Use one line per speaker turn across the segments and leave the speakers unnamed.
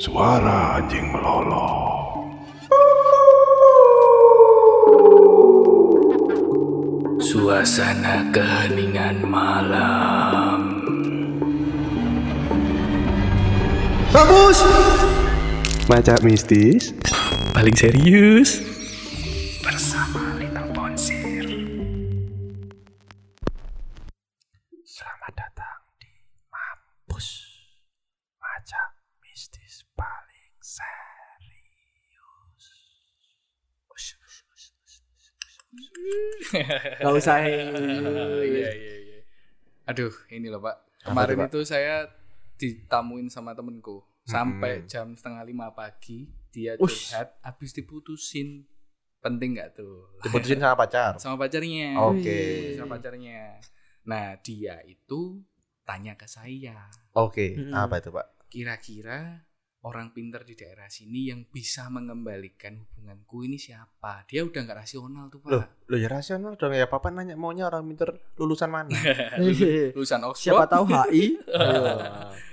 Suara anjing melolong.
Suasana keheningan malam.
Bagus.
Maca mistis.
Paling serius. Bersama Little Ponsir. Selamat datang di Mampus. Maca mistis paling serius. Us, us, us, us, us, us, us.
Gak usah.
Iya iya iya. Aduh, ini loh Pak. Kemarin itu saya ditamuin sama temenku sampai jam setengah lima pagi dia
Ush.
curhat habis diputusin penting nggak tuh
diputusin sama pacar.
sama pacarnya Iya,
Oke.
sama pacarnya nah dia itu tanya ke saya
Oke,
Mm-mm.
apa itu, Pak?
kira-kira orang pintar di daerah sini yang bisa mengembalikan hubunganku ini siapa dia udah nggak rasional tuh
Loh,
pak
lo ya rasional dong ya, Papa nanya maunya orang pinter lulusan mana?
lulusan Oxford
Siapa tahu HI.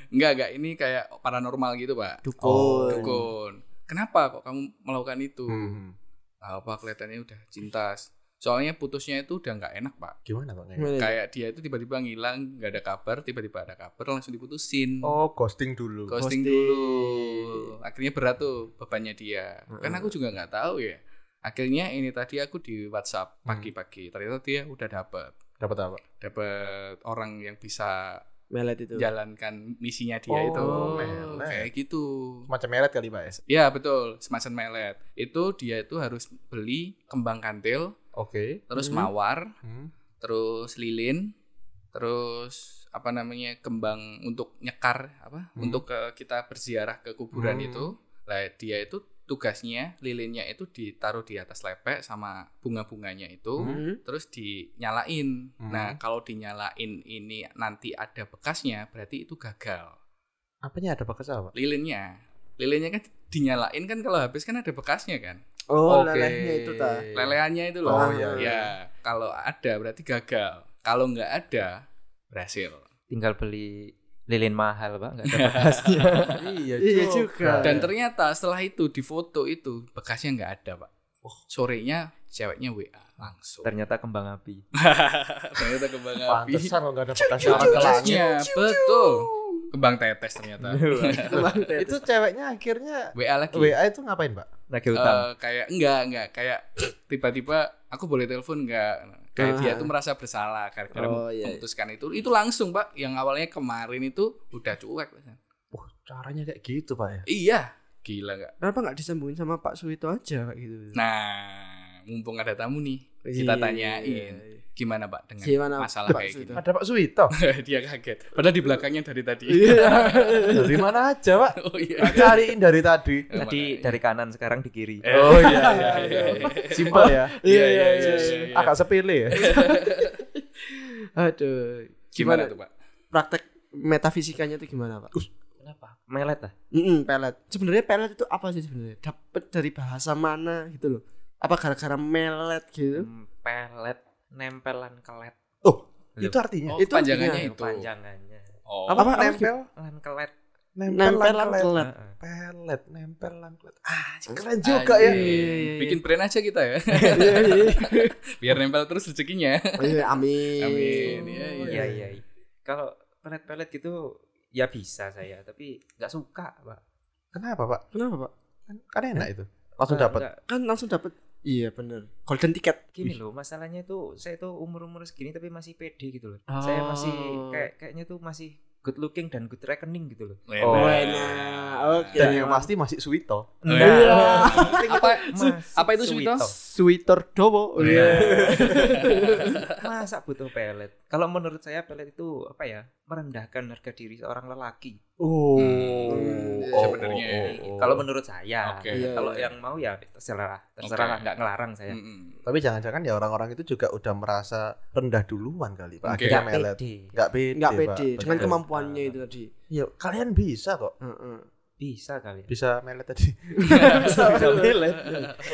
Enggak, enggak. Ini kayak paranormal gitu, Pak.
Dukun.
Dukun. Kenapa kok kamu melakukan itu?
Hmm,
Nah, apa kelihatannya udah cinta. Soalnya putusnya itu udah nggak enak, Pak.
Gimana, gitu? Pak?
Gimana itu?
Kayak dia itu tiba-tiba ngilang, nggak ada kabar, tiba-tiba ada kabar langsung diputusin.
Oh, ghosting dulu.
ghosting,
ghosting.
dulu. Akhirnya berat tuh bebannya dia. Kan aku juga nggak tahu ya. Akhirnya ini tadi aku di WhatsApp
Hmm.
pagi-pagi. Ternyata dia udah dapet
Dapat apa?
dapat orang yang bisa
Melet itu.
jalankan misinya dia
Oh,
itu
melet.
kayak gitu
Macam meret kali, Pak. ya?
Ya betul, semacam melet. Itu dia itu harus beli kembang kantil,
Oke.
terus
Mhm.
mawar,
Hmm.
terus lilin, terus apa namanya kembang untuk nyekar apa?
Hmm.
Untuk ke, kita berziarah ke kuburan
Hmm.
itu. Lah dia itu tugasnya lilinnya itu ditaruh di atas lepek sama bunga-bunganya itu.
Hmm.
Terus dinyalain.
Hmm.
Nah, kalau dinyalain ini nanti ada bekasnya, berarti itu gagal
Apanya ada bekas apa?
lilinnya lilinnya kan dinyalain kan kalau habis kan ada bekasnya kan
Oh, lelehnya itu ta.
leleannya itu loh
Oh, iya, iya.
ya kalau ada berarti gagal kalau nggak ada berhasil
tinggal beli lilin mahal pak nggak ada
Iya,
Iya juga.
dan ternyata setelah itu di foto itu bekasnya nggak ada pak sorenya ceweknya wa langsung
ternyata kembang api
ternyata kembang api
Pantesan kok nggak ada bekas Iya. arah
Arah
ke langit.
kelasnya betul kembang tetes ternyata
Iya.
Kembang tetes.
Itu ceweknya akhirnya
wa lagi
WA itu ngapain, Pak?
lagi
Eh,
utang
kayak enggak enggak kayak tiba-tiba aku boleh telepon enggak kayak
Ah.
dia tuh merasa bersalah karena karena
Oh, iya, iya.
memutuskan itu itu langsung pak yang awalnya kemarin itu udah cuek
Wah, caranya kayak gitu, Pak ya.
iya gila enggak
Kenapa nggak disambungin sama Pak Suwito aja kayak gitu?
nah mumpung ada tamu nih
Iya.
kita tanyain iya. gimana pak dengan
Gimana,
masalah
Pak
kayak
Suto?
gini
Ada Pak Suwito.
dia kaget padahal di belakangnya dari tadi Iya.
Dari mana aja, Pak?
oh iya
Cariin dari tadi.
tadi dari kanan sekarang di kiri
oh iya iya iya
Simpel ya.
iya iya iya iya.
Agak sepele ya.
Aduh.
gimana Iya. tuh pak
Praktek metafisikanya itu gimana Pak?
kenapa melet ah
Mm pelet. Sebenarnya pelet itu apa sih sebenarnya? Dapat dari bahasa mana gitu loh? Apa gara-gara melet gitu?
Hmm, pelet nempelan kelet
Itu artinya.
oh
Itu
panjangannya
artinya
itu
panjangannya
oh
Apa?
Apa,
sih?
nempel?
lan kelet
Nempelan kelet.
Heeh.
pelet nempel langkut ah keren juga ya
Anjing.
Iya, iya, iya.
Bikin brand aja kita ya.
Iya, iya.
Biar nempel terus rezekinya.
Iya, amin.
Amin. Iya,
Oh,
iya.
iya iya iya. kalau pelet pelet gitu ya bisa saya tapi nggak suka pak
kenapa pak
Kenapa Pak?
Kan- kan enak itu langsung
Nggak-
dapat
nggak.
Kan langsung dapat. Iya bener. Golden ticket.
gini loh masalahnya itu saya tuh umur umur segini tapi masih pede gitu loh saya
Oh.
masih kayak kayaknya tuh masih good looking dan good reckoning gitu loh
Oh,
Oh, enak. Oke.
dan yang pasti masih suito
Nah. Apa
Masih
apa itu Suwito?
Sweater
Oh,
dobo.
Iya.
masa butuh pelet kalau menurut saya pelet itu apa ya merendahkan harga diri seorang lelaki Iya,
oh
Hmm,
Oh, sebenarnya.
kalau menurut saya
Oke.
Iya,
kalau
iya.
yang mau ya terserah terserah
Oke. Hmm.
lah, nggak ngelarang saya
Mm-mm.
tapi jangan-jangan ya orang-orang itu juga udah merasa rendah duluan kali pak
Oke.
Iya,
akhirnya melet
nggak pede
nggak pede
Enggak
Pak.
pede dengan
Betul.
kemampuannya itu tadi.
Iya, kalian bisa kok
Heeh.
bisa kali ya.
bisa melet tadi
Bisa melet.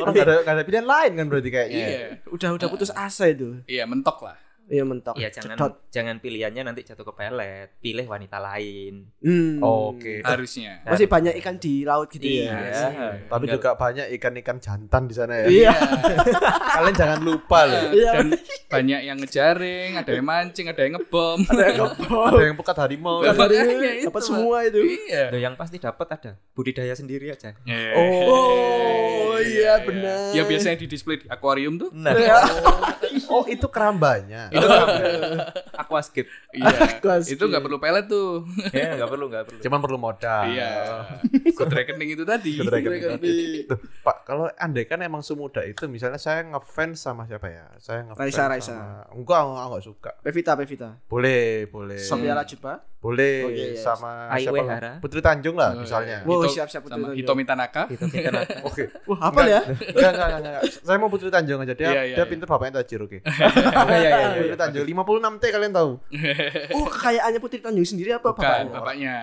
orang nggak ada nggak ada pilihan lain kan berarti kayaknya
Iya.
Udah udah putus asa itu.
Iya, mentok lah.
Iya mentok.
Iya jangan
Cedot.
jangan pilihannya nanti jatuh ke pelet, pilih wanita lain.
Hmm.
Oke.
harusnya
Masih banyak ikan di laut gitu ya.
Iya.
Tapi
Enggak-
juga banyak ikan-ikan jantan di sana ya.
Iya.
Kalian jangan lupa loh.
Iya.
dan banyak yang ngejaring, ada yang mancing, ada yang ngebom.
Ada yang pekat harimau.
Iya.
Dapat
Makanya itu,
dapat
Mas.
semua itu.
iya.
Loh, yang pasti dapat ada budidaya sendiri aja.
Oh, iya, benar.
Ya biasanya di display di akuarium tuh.
Nah,
Iya.
Oh, itu kerambanya.
itu aquascape.
Iya.
Kelas
itu nggak perlu pelet tuh.
Ya, enggak perlu, enggak perlu.
Cuman perlu modal.
Iya. Good rekening itu tadi.
Good rekening.
rekening.
Tuh, Pak, kalau andai kan emang semudah itu, misalnya saya ngefans sama siapa ya? Saya ngefans
Raisa,
sama-
Raisa.
Enggak, enggak, enggak suka.
Pevita, Pevita.
Boleh,
Iya.
boleh.
Sophia Lajuba.
Boleh
Oke, yes.
sama
Ai
siapa?
Uehara.
Putri Tanjung lah
Oh,
misalnya.
iya.
Wow,
Hito-
siap-siap betul,
sama
betul.
Hitomi Tanaka.
Itu kita lah.
Oke.
Wah, apa ya?
Enggak, enggak, enggak, enggak. Saya mau Putri Tanjung aja. Dia
Iya, iya,
dia
iya.
pinter bapaknya Tajir, oke.
Iya, iya, iya.
Putri Tanjung 56T kalian tahu?
Oh, kekayaannya Putri Tanjung sendiri apa
Bukan,
bapaknya?
bapaknya.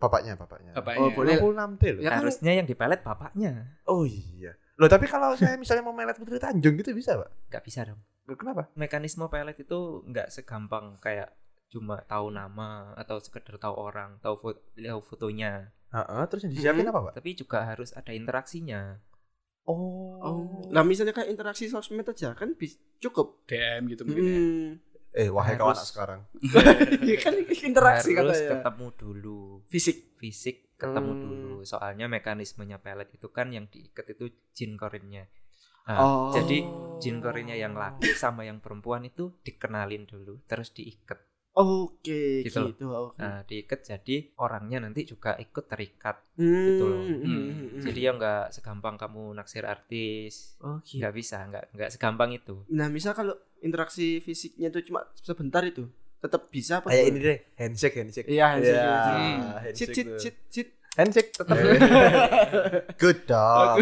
Bapaknya, bapaknya.
Bapaknya.
Oh, boleh.
56T loh.
Ya kan
Harusnya yang dipelet bapaknya.
Oh iya. Loh, tapi kalau saya misalnya mau melet Putri Tanjung gitu bisa, Pak?
Enggak bisa dong.
Kenapa?
Mekanisme pelet itu enggak segampang kayak cuma tahu nama atau sekedar tahu orang, tahu foto, tahu fotonya.
Heeh, terus yang disiapin
Mm-mm.
apa, Pak?
Tapi juga harus ada interaksinya.
Oh.
Oh. Nah, misalnya kayak interaksi sosmed aja kan bis- cukup.
DM gitu mungkin. ya.
Hmm.
Eh, wahai kawan
Harus.
sekarang.
Iya kan interaksi
harus
katanya.
ketemu dulu.
Fisik.
Fisik ketemu
Hmm.
dulu. Soalnya mekanismenya pelet itu kan yang diikat itu jin korinnya. Nah,
Oh.
Jadi ya. jin korinnya yang laki sama yang perempuan itu dikenalin dulu terus diikat.
Oke,
Gitu
gitu.
loh.
oke.
Nah, diikat jadi orangnya nanti juga ikut terikat.
Hmm,
gitu loh.
hmm,
Hmm.
hmm,
Jadi
hmm.
ya nggak segampang kamu naksir artis.
Oh, gitu.
Nggak bisa, nggak nggak segampang itu.
Nah, misal kalau interaksi fisiknya itu cuma sebentar itu, tetap bisa apa?
Kayak
gimana?
ini deh, handshake, handshake.
Iya, handshake,
Iya,
handshake.
Hmm.
Sit,
handshake
sit,
tuh.
sit, sit.
Handshake tetap. Iya. Good dog.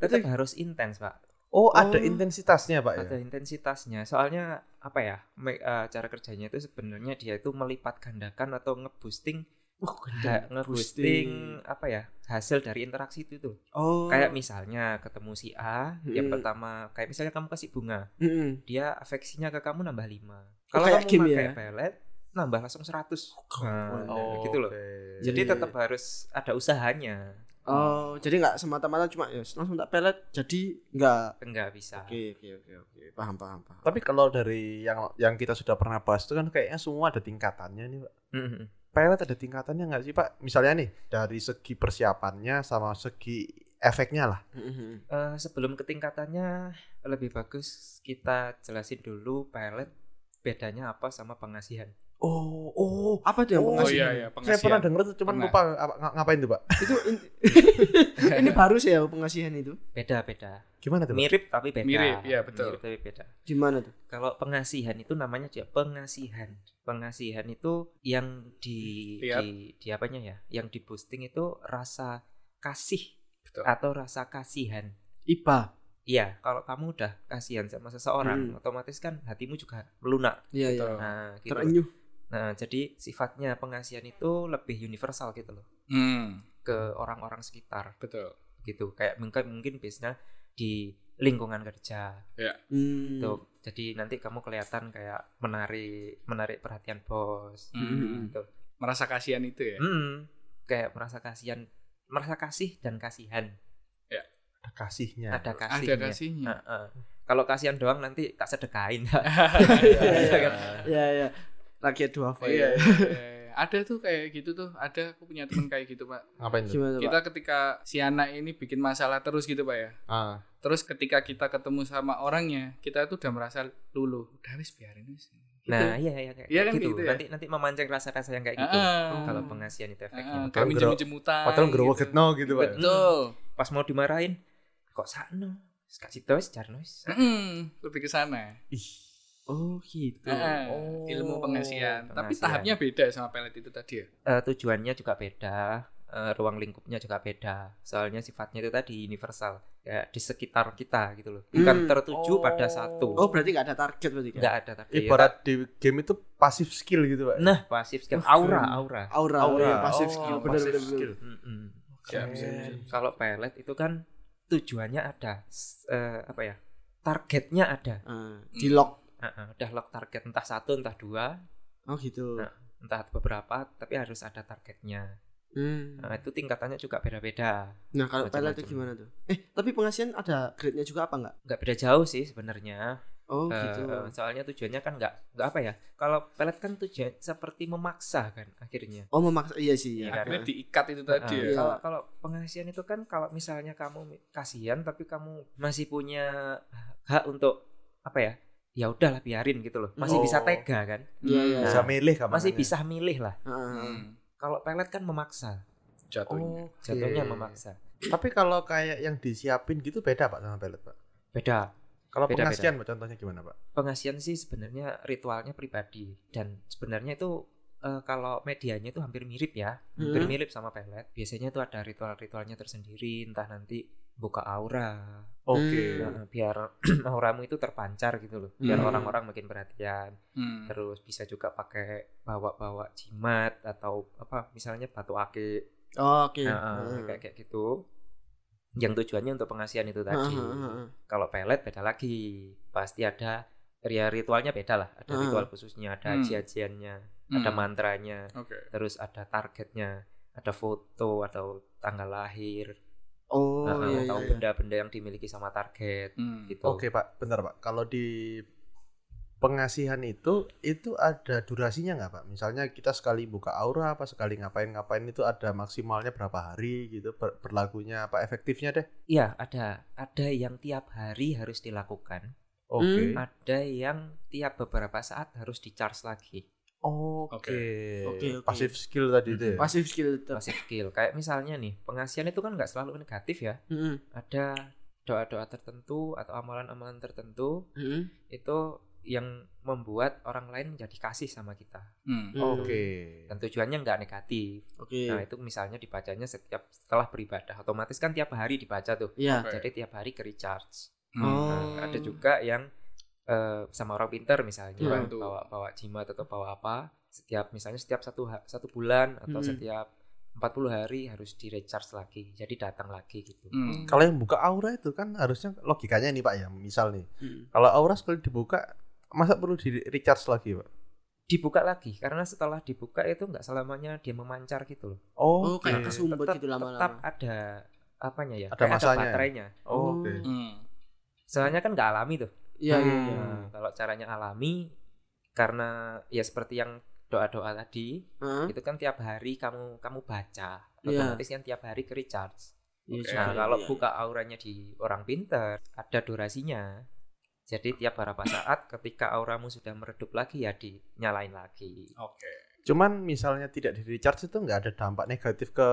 Tetap harus intens, Pak.
Oh, ada
Oh.
intensitasnya, Pak
Iya.
ya.
Ada intensitasnya. Soalnya apa ya? me- eh, cara kerjanya itu sebenarnya dia itu melipat gandakan atau ngeboosting
Ah,
nggak ngeboosting apa ya? hasil dari interaksi itu tuh.
Oh.
Kayak misalnya ketemu si A, yang
Mm.
pertama kayak misalnya kamu kasih bunga,
Mm-mm.
dia afeksinya ke kamu nambah 5.
Oh,
Kalau
kayak
kamu
game
pakai
ya?
pelet, nambah langsung 100. Nah,
Oh,
gitu loh.
oke.
Jadi
Iya, iya,
tetap harus ada usahanya.
Oh, jadi nggak semata-mata cuma ya langsung tak pelet. Jadi nggak.
Enggak bisa.
Oke, oke, oke, oke. Paham, paham, paham.
Tapi kalau dari yang yang kita sudah pernah bahas itu kan kayaknya semua ada tingkatannya nih, Pak.
Mm-mm.
Pelet ada tingkatannya nggak sih, Pak? Misalnya nih, dari segi persiapannya sama segi efeknya lah.
Mm-mm.
Eh, sebelum ketingkatannya lebih bagus kita jelasin dulu pelet bedanya apa sama pengasihan.
Oh, oh.
Apa tuh yang
Oh,
Oh iya
pengasihan?
iya,
Saya pernah
pengasihan.
denger tuh, cuman
Pernah.
lupa apa- nga- ngapain tuh, Pak?
Itu in-
iya.
ini baru sih ya pengasihan itu.
Beda-beda.
Gimana tuh, Pak?
Mirip tapi beda.
Mirip, iya, betul.
Mirip tapi beda.
Gimana tuh?
Kalau pengasihan itu namanya dia pengasihan. Pengasihan itu yang di
Lihat.
di, di apanya ya? Yang di boosting itu rasa kasih
Betul.
atau rasa kasihan.
Ipa.
Iya, kalau kamu udah kasihan sama seseorang,
Hmm.
otomatis kan hatimu juga melunak.
Iya, iya.
Betul.
Nah, gitu.
Terenyuh.
Nah, jadi sifatnya pengasihan itu lebih universal gitu loh
Hmm,
ke orang-orang sekitar
betul.
gitu. Kayak mungkin mungkin biasanya di lingkungan kerja
Hmm.
gitu. Jadi nanti kamu kelihatan kayak menarik, menarik perhatian bos.
Hmm.
Gitu.
Merasa kasihan itu ya.
Mm, kayak merasa kasihan, merasa kasih dan kasihan.
Ada Kasihnya.
Ada
Ya, Ada
kasihnya.
kasihnya.
Heeh. Kalau kasihan doang nanti tak sedekain.
Iya, iya.
kan?
Iya, iya. Rakyat dua
Oh, iya, iya, iya, iya. Ada tuh kayak gitu tuh. Ada aku punya teman kayak gitu, Pak.
Ngapain tuh?
Gimana, Pak?
Kita ketika si anak ini bikin masalah terus gitu, Pak ya.
Ah.
Terus ketika kita ketemu sama orangnya, kita tuh udah merasa lulu. Udah wis biarin wis. Gitu.
Nah, iya iya kayak
Iya kan
gitu.
gitu ya?
Nanti nanti memancing rasa-rasa yang kayak gitu.
Ah.
Kalau gitu. pengasihan itu
Heeh,
efeknya.
Padahal
kami
gero-
minjem utang.
Padahal ngerowoget no gitu, Pak.
Betul.
Pas mau dimarahin, kok sakno? Kasih tois, jarnois.
Mm-mm, lebih ke sana.
Oh, gitu.
Heeh, ilmu pengasihan. Tapi
Oh, pengasihan.
tahapnya beda sama pelet itu tadi ya.
Eh, tujuannya juga beda, eh, ruang lingkupnya juga beda. Soalnya sifatnya itu tadi universal, ya di sekitar kita gitu loh. Bukan
Hmm.
Oh.
tertuju pada satu.
Oh, berarti nggak ada target berarti
iya.
kan?
nggak ada tapi
Ibarat di game itu pasif skill gitu, Pak.
Iya. nah pasif
Oh,
skill, aura, aura.
Aura,
Aura.
aura, pasif
Oh,
skill. Benar,
pasif
benar, benar.
skill.
Iya,
Mm-mm.
Siap, siap, siap.
Kalau pelet itu kan tujuannya ada, s- eh, apa ya? Targetnya ada.
Ah, Di lock.
Heeh, udah lock target entah satu entah dua
Oh gitu.
Nah. entah beberapa tapi harus ada targetnya
Hmm.
nah, itu tingkatannya juga beda-beda
Nah kalau PL
Macam-macam.
itu gimana tuh? Eh tapi pengasian ada grade-nya juga apa nggak?
nggak beda jauh sih sebenarnya
Oh
Eh,
gitu.
eh, soalnya tujuannya kan nggak nggak apa ya kalau pelet kan tujuan seperti memaksa kan akhirnya
Oh memaksa iya sih. Iya.
Iya,
akhirnya diikat itu tadi
Nah,
ya.
Iya.
kalau kalau pengasihan itu kan kalau misalnya kamu mi- kasihan tapi kamu masih punya hak untuk apa ya ya udahlah biarin gitu loh masih
Oh.
bisa tega kan
Iya iya.
Bisa
Nah,
milih kamu.
masih bisa milih lah
ah, Heeh.
Hmm,
kalau pelet kan memaksa
jatuhnya.
jatuhnya
Oh, Oke.
memaksa
Tapi kalau kayak yang disiapin gitu beda Pak sama pelet Pak.
beda
Kalau
Beda-beda.
pengasian Pak contohnya gimana Pak?
pengasihan sih sebenarnya ritualnya pribadi dan sebenarnya itu eh, kalau medianya itu hampir mirip ya hampir
Hmm.
mirip sama pelet biasanya itu ada ritual-ritualnya tersendiri entah nanti buka aura
Oke.
Nah, biar auramu itu terpancar gitu loh biar
Hmm.
orang-orang makin perhatian
Hmm.
terus bisa juga pakai bawa-bawa jimat atau apa misalnya batu akik
Oh, Oke.
Nah, eh,
Heeh.
kayak kayak gitu yang tujuannya untuk pengasihan itu tadi
Heeh, heeh, heeh.
kalau pelet beda lagi pasti ada ya ritualnya beda lah ada
Ah.
ritual khususnya ada
Hmm.
ajian-ajiannya ada
Hmm.
mantranya
Oke.
terus ada targetnya ada foto atau tanggal lahir
Oh
ah,
iya
atau
iya. iya.
benda-benda yang dimiliki sama target
Hmm.
gitu
Oke Pak, bentar Pak. Kalau di pengasihan itu itu ada durasinya nggak Pak? Misalnya kita sekali buka aura apa sekali ngapain-ngapain itu ada maksimalnya berapa hari gitu ber- berlakunya apa efektifnya deh?
iya ada ada yang tiap hari harus dilakukan
Oke.
ada yang tiap beberapa saat harus di charge lagi
Oh,
Oke.
Oke, oke.
Pasif skill tadi itu ya.
Pasif iya. skill tetap.
masih skill kayak misalnya nih pengasihan itu kan nggak selalu negatif ya
Heeh.
ada doa-doa tertentu atau amalan-amalan tertentu
heeh.
itu yang membuat orang lain menjadi kasih sama kita
Hmm.
Hmm.
Oke.
dan tujuannya nggak negatif nah
Oke.
itu misalnya dibacanya setiap setelah beribadah otomatis kan tiap hari dibaca tuh
Iya.
Oke.
jadi tiap hari ke recharge
Hmm.
Oh.
Nah, ada juga yang eh, sama orang pinter misalnya
Hmm.
bawa bawa jimat atau bawa apa setiap misalnya setiap satu ha- satu bulan atau
Hmm.
setiap 40 hari harus di recharge lagi jadi datang lagi gitu
Hmm.
Kalau yang buka aura itu kan harusnya logikanya nih Pak ya, misal nih.
Hmm.
Heeh.
Kalau aura sekali dibuka masa perlu di recharge lagi, Pak?
dibuka lagi karena setelah dibuka itu nggak selamanya dia memancar gitu loh
Oh kayak
Oke.
kesumbat
tetap,
gitu
tetap
lama-lama.
ada apanya ya
Ada
kayak
masanya.
baterainya
Oh, Oke.
Hmm.
soalnya kan nggak alami tuh
Iya iya.
Hmm.
iya.
Nah, kalau caranya alami karena ya seperti yang doa-doa tadi
Heeh.
itu kan tiap hari kamu kamu baca
Hmm? Iya.
otomatis kan tiap hari ke recharge
Iya
Oke.
juga,
nah
iya,
kalau
iya.
buka auranya di orang pinter ada durasinya jadi tiap beberapa saat ketika auramu sudah meredup lagi ya dinyalain lagi
Oke.
Cuman misalnya tidak di recharge itu nggak ada dampak negatif ke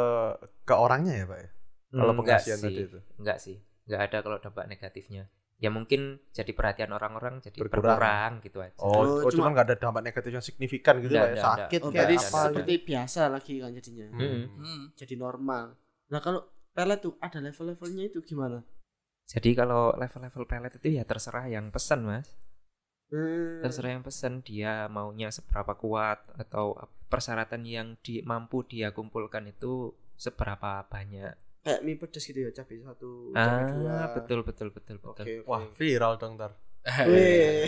ke orangnya ya Pak ya? Kalau
Enggak
pengasihan
sih.
tadi itu.
enggak sih enggak ada kalau dampak negatifnya ya mungkin jadi perhatian orang-orang jadi
Berkurang.
berkurang, gitu aja
Oh,
Oh,
oh,
cuma-
cuman nggak ada dampak negatif yang signifikan gitu
Nggak
Pak ya?
ada,
Sakit
Oh,
kayak
berarti
ada,
apa
ada.
gitu.
seperti biasa lagi kan jadinya.
Hmm.
Hmm.
Jadi normal. Nah, kalau pelet tuh ada level-levelnya itu gimana?
jadi kalau level-level pelet itu ya terserah yang pesan mas
Hmm.
terserah yang pesan dia maunya seberapa kuat atau persyaratan yang di, mampu dia kumpulkan itu seberapa banyak
Kayak mie pedes gitu ya, cabai satu, cabai dua.
ah betul betul betul betul
Oke,
Wah, viral dong ntar. Eh.
Wih.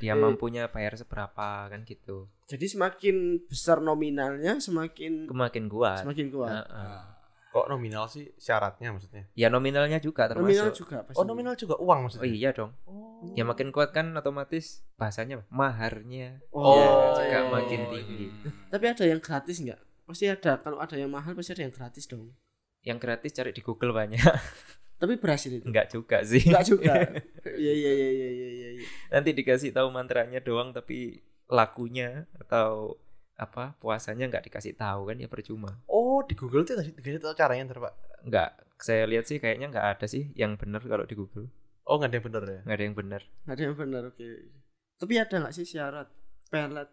dia mampunya bayar seberapa kan gitu
Jadi semakin besar nominalnya semakin
makin kuat
semakin kuat.
Ah,
Heeh.
Ah.
Kok nominal sih syaratnya maksudnya?
ya nominalnya juga termasuk
Nominal juga pasti.
Oh, nominal juga uang
oh
maksudnya.
iya dong
Oh.
ya makin kuat kan otomatis bahasanya apa? maharnya
Oh,
ya,
iya.
juga
Oh,
makin tinggi
hmm.
Tapi ada yang gratis nggak? Pasti ada. Kalau ada yang mahal pasti ada yang gratis dong.
yang gratis cari di Google banyak
Tapi berhasil itu.
enggak juga sih
Enggak juga. Iya iya iya iya iya iya. iya.
nanti dikasih tahu mantranya doang tapi lakunya atau apa puasanya nggak dikasih tahu kan ya percuma
Oh, di Google tuh dikasih dikasih tahu caranya ntar Pak.
nggak saya lihat sih kayaknya nggak ada sih yang bener kalau di Google
Oh, nggak ada yang bener ya?
nggak ada yang bener
Nggak ada yang benar oke. Tapi ada nggak sih syarat pelet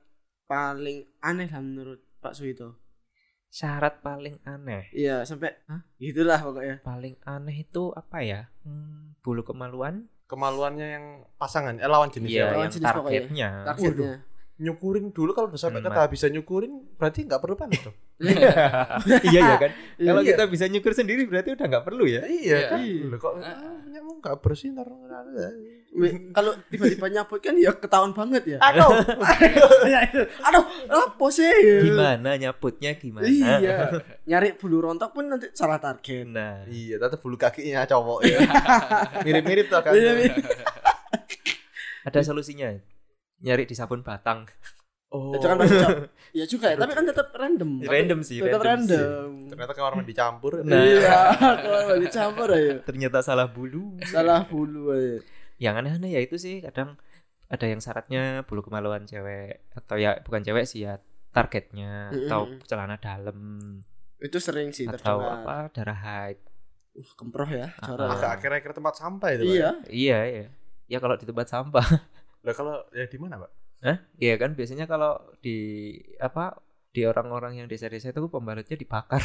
paling aneh lah menurut Pak Suito?
syarat paling aneh
Iya sampai Hah? gitulah pokoknya.
paling aneh itu apa ya Hmm, bulu kemaluan
Kemaluannya yang pasangan, eh, lawan jenis
Iya,
ya, Pak?
lawan
yang
jenis pokoknya.
targetnya
Targetnya.
nyukurin dulu kalau sampai
Hmm,
kata bisa nyukurin berarti nggak perlu panik dong.
iya ya kan kalau
Iya.
kita bisa nyukur sendiri berarti udah nggak perlu ya
iya
Iya.
kan? Loh, kok ah, nyamuk nggak bersih ntar
We- Kalau tiba-tiba nyaput kan ya ketahuan banget ya.
Ah,
Aduh. Aduh, apa sih?
Ah. gimana Ah. nyaputnya gimana
Iya. Nyari bulu rontok pun nanti salah target.
nah
Iya, tetap bulu kakinya cowok ya. Mirip-mirip tuh kan.
Iya,
Iya, ada solusinya nyari di sabun batang
Oh.
Itu kan pasti cok- Ya juga ya, tapi kan tetap random.
random sih
Tetap
sih.
random.
Ternyata kamar mandi campur.
Nah.
Iya, kalau lagi campur ya.
ternyata salah bulu
Salah bulu aja.
yang aneh-aneh ya itu sih kadang ada yang syaratnya bulu kemaluan cewek atau ya bukan cewek sih ya targetnya
Mm-mm.
atau celana dalam
Itu sering sih
atau
tertular.
apa darah haid
Uh, kemproh ya,
Ah.
Agak
cara.
akhir-akhir tempat sampah itu. Pak.
Iya.
iya iya ya kalau di tempat sampah
Lah kalau ya di mana, Pak?
Hah? iya kan biasanya kalau di apa di orang-orang yang desa-desa itu pembalutnya dibakar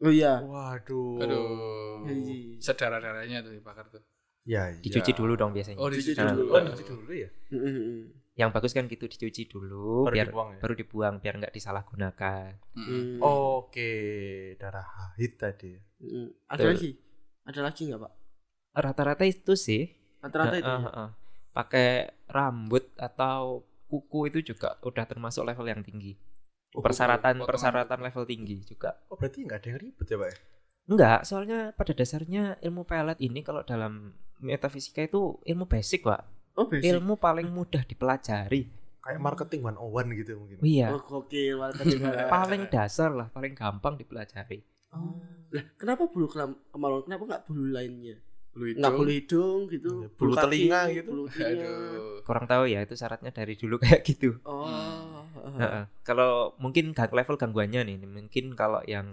Oh
Nah.
iya.
Waduh.
Aduh.
Iya.
Sedara-daranya tuh dibakar tuh.
Ya, iya.
dicuci dulu dong biasanya
Oh, dicuci
Dicuci
dulu.
dulu.
Oh, dicuci dulu ya.
Mm-mm.
yang bagus kan gitu dicuci dulu
Baru
biar
dibuang ya?
baru dibuang biar nggak disalahgunakan
Mm-mm.
Mm.
Oke, darah haid tadi.
Mm. Ada
Betul.
lagi? Ada lagi nggak pak?
rata-rata itu sih
Rata-rata itu.
Heeh,
ya?
heeh. pakai rambut atau kuku itu juga udah termasuk level yang tinggi persyaratan
kuku, potongan
persyaratan
kuku.
level tinggi juga
Oh, berarti nggak ada yang ribet ya, Pak? ya?
enggak soalnya pada dasarnya ilmu pelet ini kalau dalam metafisika itu ilmu basic pak
Oh basic.
ilmu paling mudah dipelajari
Hmm.
Kayak marketing 101 gitu mungkin.
iya
Oh gokil. warna kedua.
paling dasar lah paling gampang dipelajari
Oh. Lah, kenapa bulu kelam- kemaluan? Kenapa nggak bulu lainnya?
Bulu
Nggak
hidung.
bulu hidung gitu,
Iya, bulu
kaki,
telinga gitu.
Bulu telinga.
Aduh.
kurang tahu ya itu syaratnya dari dulu kayak gitu
Oh.
Heeh. Kalau mungkin gang- level gangguannya nih, mungkin kalau yang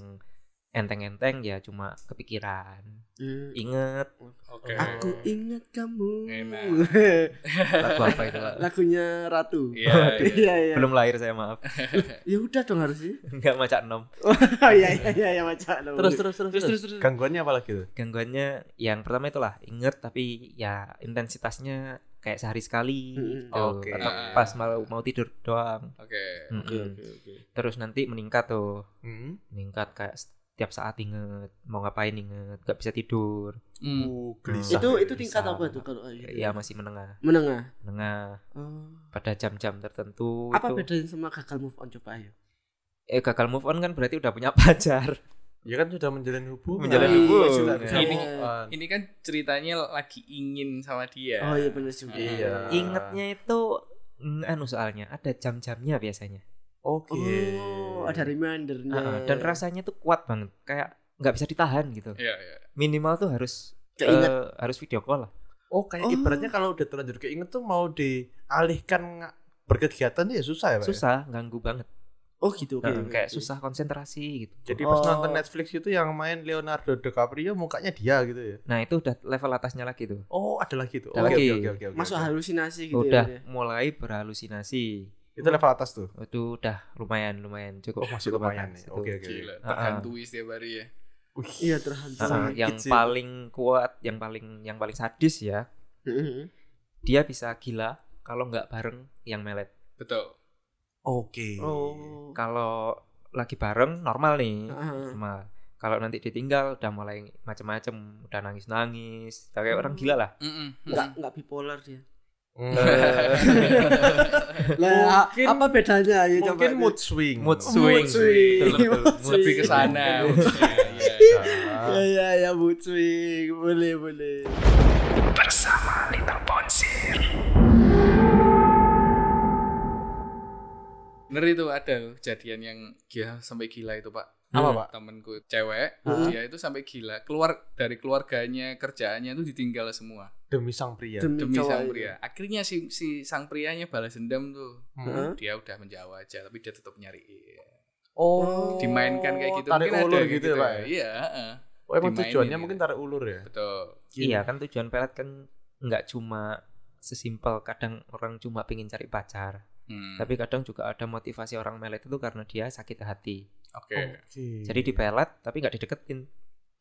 enteng-enteng ya cuma kepikiran.
Hmm.
Iya. Ingat
Oke. Iya,
Aku ingat kamu.
Enak.
lagu apa itu? Pak?
Lagunya Ratu.
Iya, iya.
iya. iya.
Belum lahir saya maaf.
Ya udah dong harusnya.
Enggak maca nom.
Oh iya iya iya ya, macam.
Terus terus terus.
Terus terus terus.
Gangguannya apa lagi tuh?
Gangguannya yang pertama itulah ingat tapi ya intensitasnya kayak sehari sekali
Mm-mm.
gitu.
Oke.
Atau
Iya.
pas mau mau tidur doang.
Oke.
Mm-mm.
Oke oke oke.
Terus nanti meningkat tuh,
Hmm.
meningkat kayak setiap saat inget mau ngapain inget nggak bisa tidur
Hmm.
Uh, gelisah.
Itu
Itu
itu tingkat
Bisa.
apa tuh kalau kayak
Iya,
gitu?
ya masih menengah
Menengah.
menengah
Oh.
pada jam-jam tertentu
Apa
itu
bedanya sama gagal move on coba ayo?
eh gagal move on kan berarti udah punya pacar.
ya kan sudah menjalin hubungan.
Oh,
Menjalin
Iya,
hubungan.
sudah bisa
Ini-
move on.
Ini kan ceritanya lagi ingin sama dia.
Oh iya benar juga.
Iya.
Ingatnya itu mm, anu soalnya ada jam-jamnya biasanya.
Oke.
Oh, ada nah. remindernya.
Heeh, dan rasanya tuh kuat banget, kayak nggak bisa ditahan gitu.
Iya, iya.
Minimal tuh harus
Keinget.
eh, harus video call lah.
Oh, kayak
Oh.
ibaratnya kalau udah terlanjur keinget tuh mau dialihkan nga- berkegiatan tuh ya susah ya, Pak. ya?
Susah, ganggu banget.
oh gitu. oke,
Heeh,
oke,
kayak
oke.
susah konsentrasi gitu.
Jadi pas
Oh.
nonton Netflix itu yang main Leonardo DiCaprio mukanya dia gitu ya.
Nah itu udah level atasnya lagi tuh.
Oh, ada lagi tuh.
Ada
Oke,
lagi.
oke, oke, oke, oke.
Masuk halusinasi gitu
udah
ya.
mulai berhalusinasi.
Itu level atas tuh.
Itu udah lumayan lumayan cukup.
Oh, masih
cukup
lumayan
atas
nih.
itu.
Oke, oke. oke.
Gila,
Ah, ah.
terhantui setiap hari ya.
Wih.
Iya terhantu.
Heeh,
Sakit
yang
sih.
paling kuat, yang paling yang paling sadis ya
Heeh.
dia bisa gila kalau nggak bareng yang melet.
Betul.
Oke.
Oh.
Kalau lagi bareng normal nih,
Heeh.
normal. Kalau nanti ditinggal udah mulai macem-macem, udah nangis-nangis, kayak orang gila lah.
Mm-mm.
Enggak enggak bipolar dia.
Eh,
Hmm.
Lah,
Mungkin-
apa bedanya ya coba.
Mungkin mood swing.
Mood
swing.
swing.
swing.
Betul, betul.
Mood
Mood
Lebih ke
swing.
sana. maksudnya. Iya, iya.
Ah.
Ya ya ya mood swing. Boleh boleh.
Bener itu ada loh kejadian yang gila sampai gila itu pak.
Apa,
Hmm.
Pak?
Temenku cewek,
Heeh.
dia itu sampai gila. Keluar dari keluarganya, kerjaannya itu ditinggal semua
Iya, Demi sang pria.
demi
cowok
sang
itu. ya?
pria. Akhirnya si si sang prianya balas dendam tuh.
Hmm.
Dia udah menjauh aja, tapi dia tetap nyariin.
Oh.
Dimainkan kayak gitu.
Tarik
Mungkin ada
ulur
yang
gitu ya, Pak. ya?
Iya. heeh.
Oh, emang
Dimainin
tujuannya
gitu.
mungkin tarik ulur ya.
Betul.
Iya kan tujuan pelet kan nggak cuma sesimpel kadang orang cuma pingin cari pacar,
Hmm.
tapi kadang juga ada motivasi orang melet itu karena dia sakit hati.
oke.
Oh, Iya.
Jadi di pelet tapi nggak dideketin.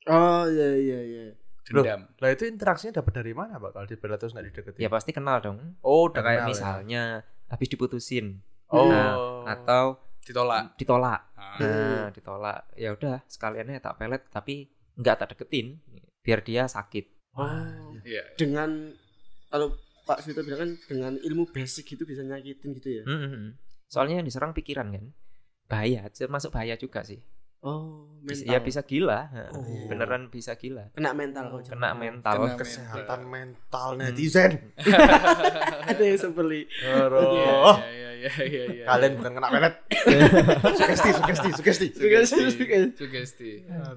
Oh iya iya iya.
Dendam.
Lah itu interaksinya dapat dari
Iya,
mana, Pak? Kalau di bela terus nggak dideketin.
Ya pasti kenal dong.
Oh, Iya. udah
Udah
kenal
kayak
ya.
misalnya habis diputusin,
Oh.
atau
ditolak.
ditolak.
Ah.
Nah, ditolak. Ya udah, sekaliannya tak pelet tapi nggak tak deketin biar dia sakit.
Wah.
Iya.
Dengan kalau Pak Suto bilang kan dengan ilmu basic gitu bisa nyakitin gitu
Hmm.
ya.
Mm-mm. Soalnya yang diserang pikiran kan. Bahaya, masuk bahaya juga sih.
Oh, mental.
Ya bisa gila, Heeh.
Oh.
beneran bisa gila.
kena mental kok. Cak.
Kena mental.
Kena
Nah, Kesehatan
mental.
mental
Hmm.
netizen.
Ada yang sebeli.
Aduh.
Iya iya iya iya.
Oh. Kalian bukan kena pelet. sugesti, sugesti, sugesti.
Sugesti, sugesti.
Sugesti.
Lah,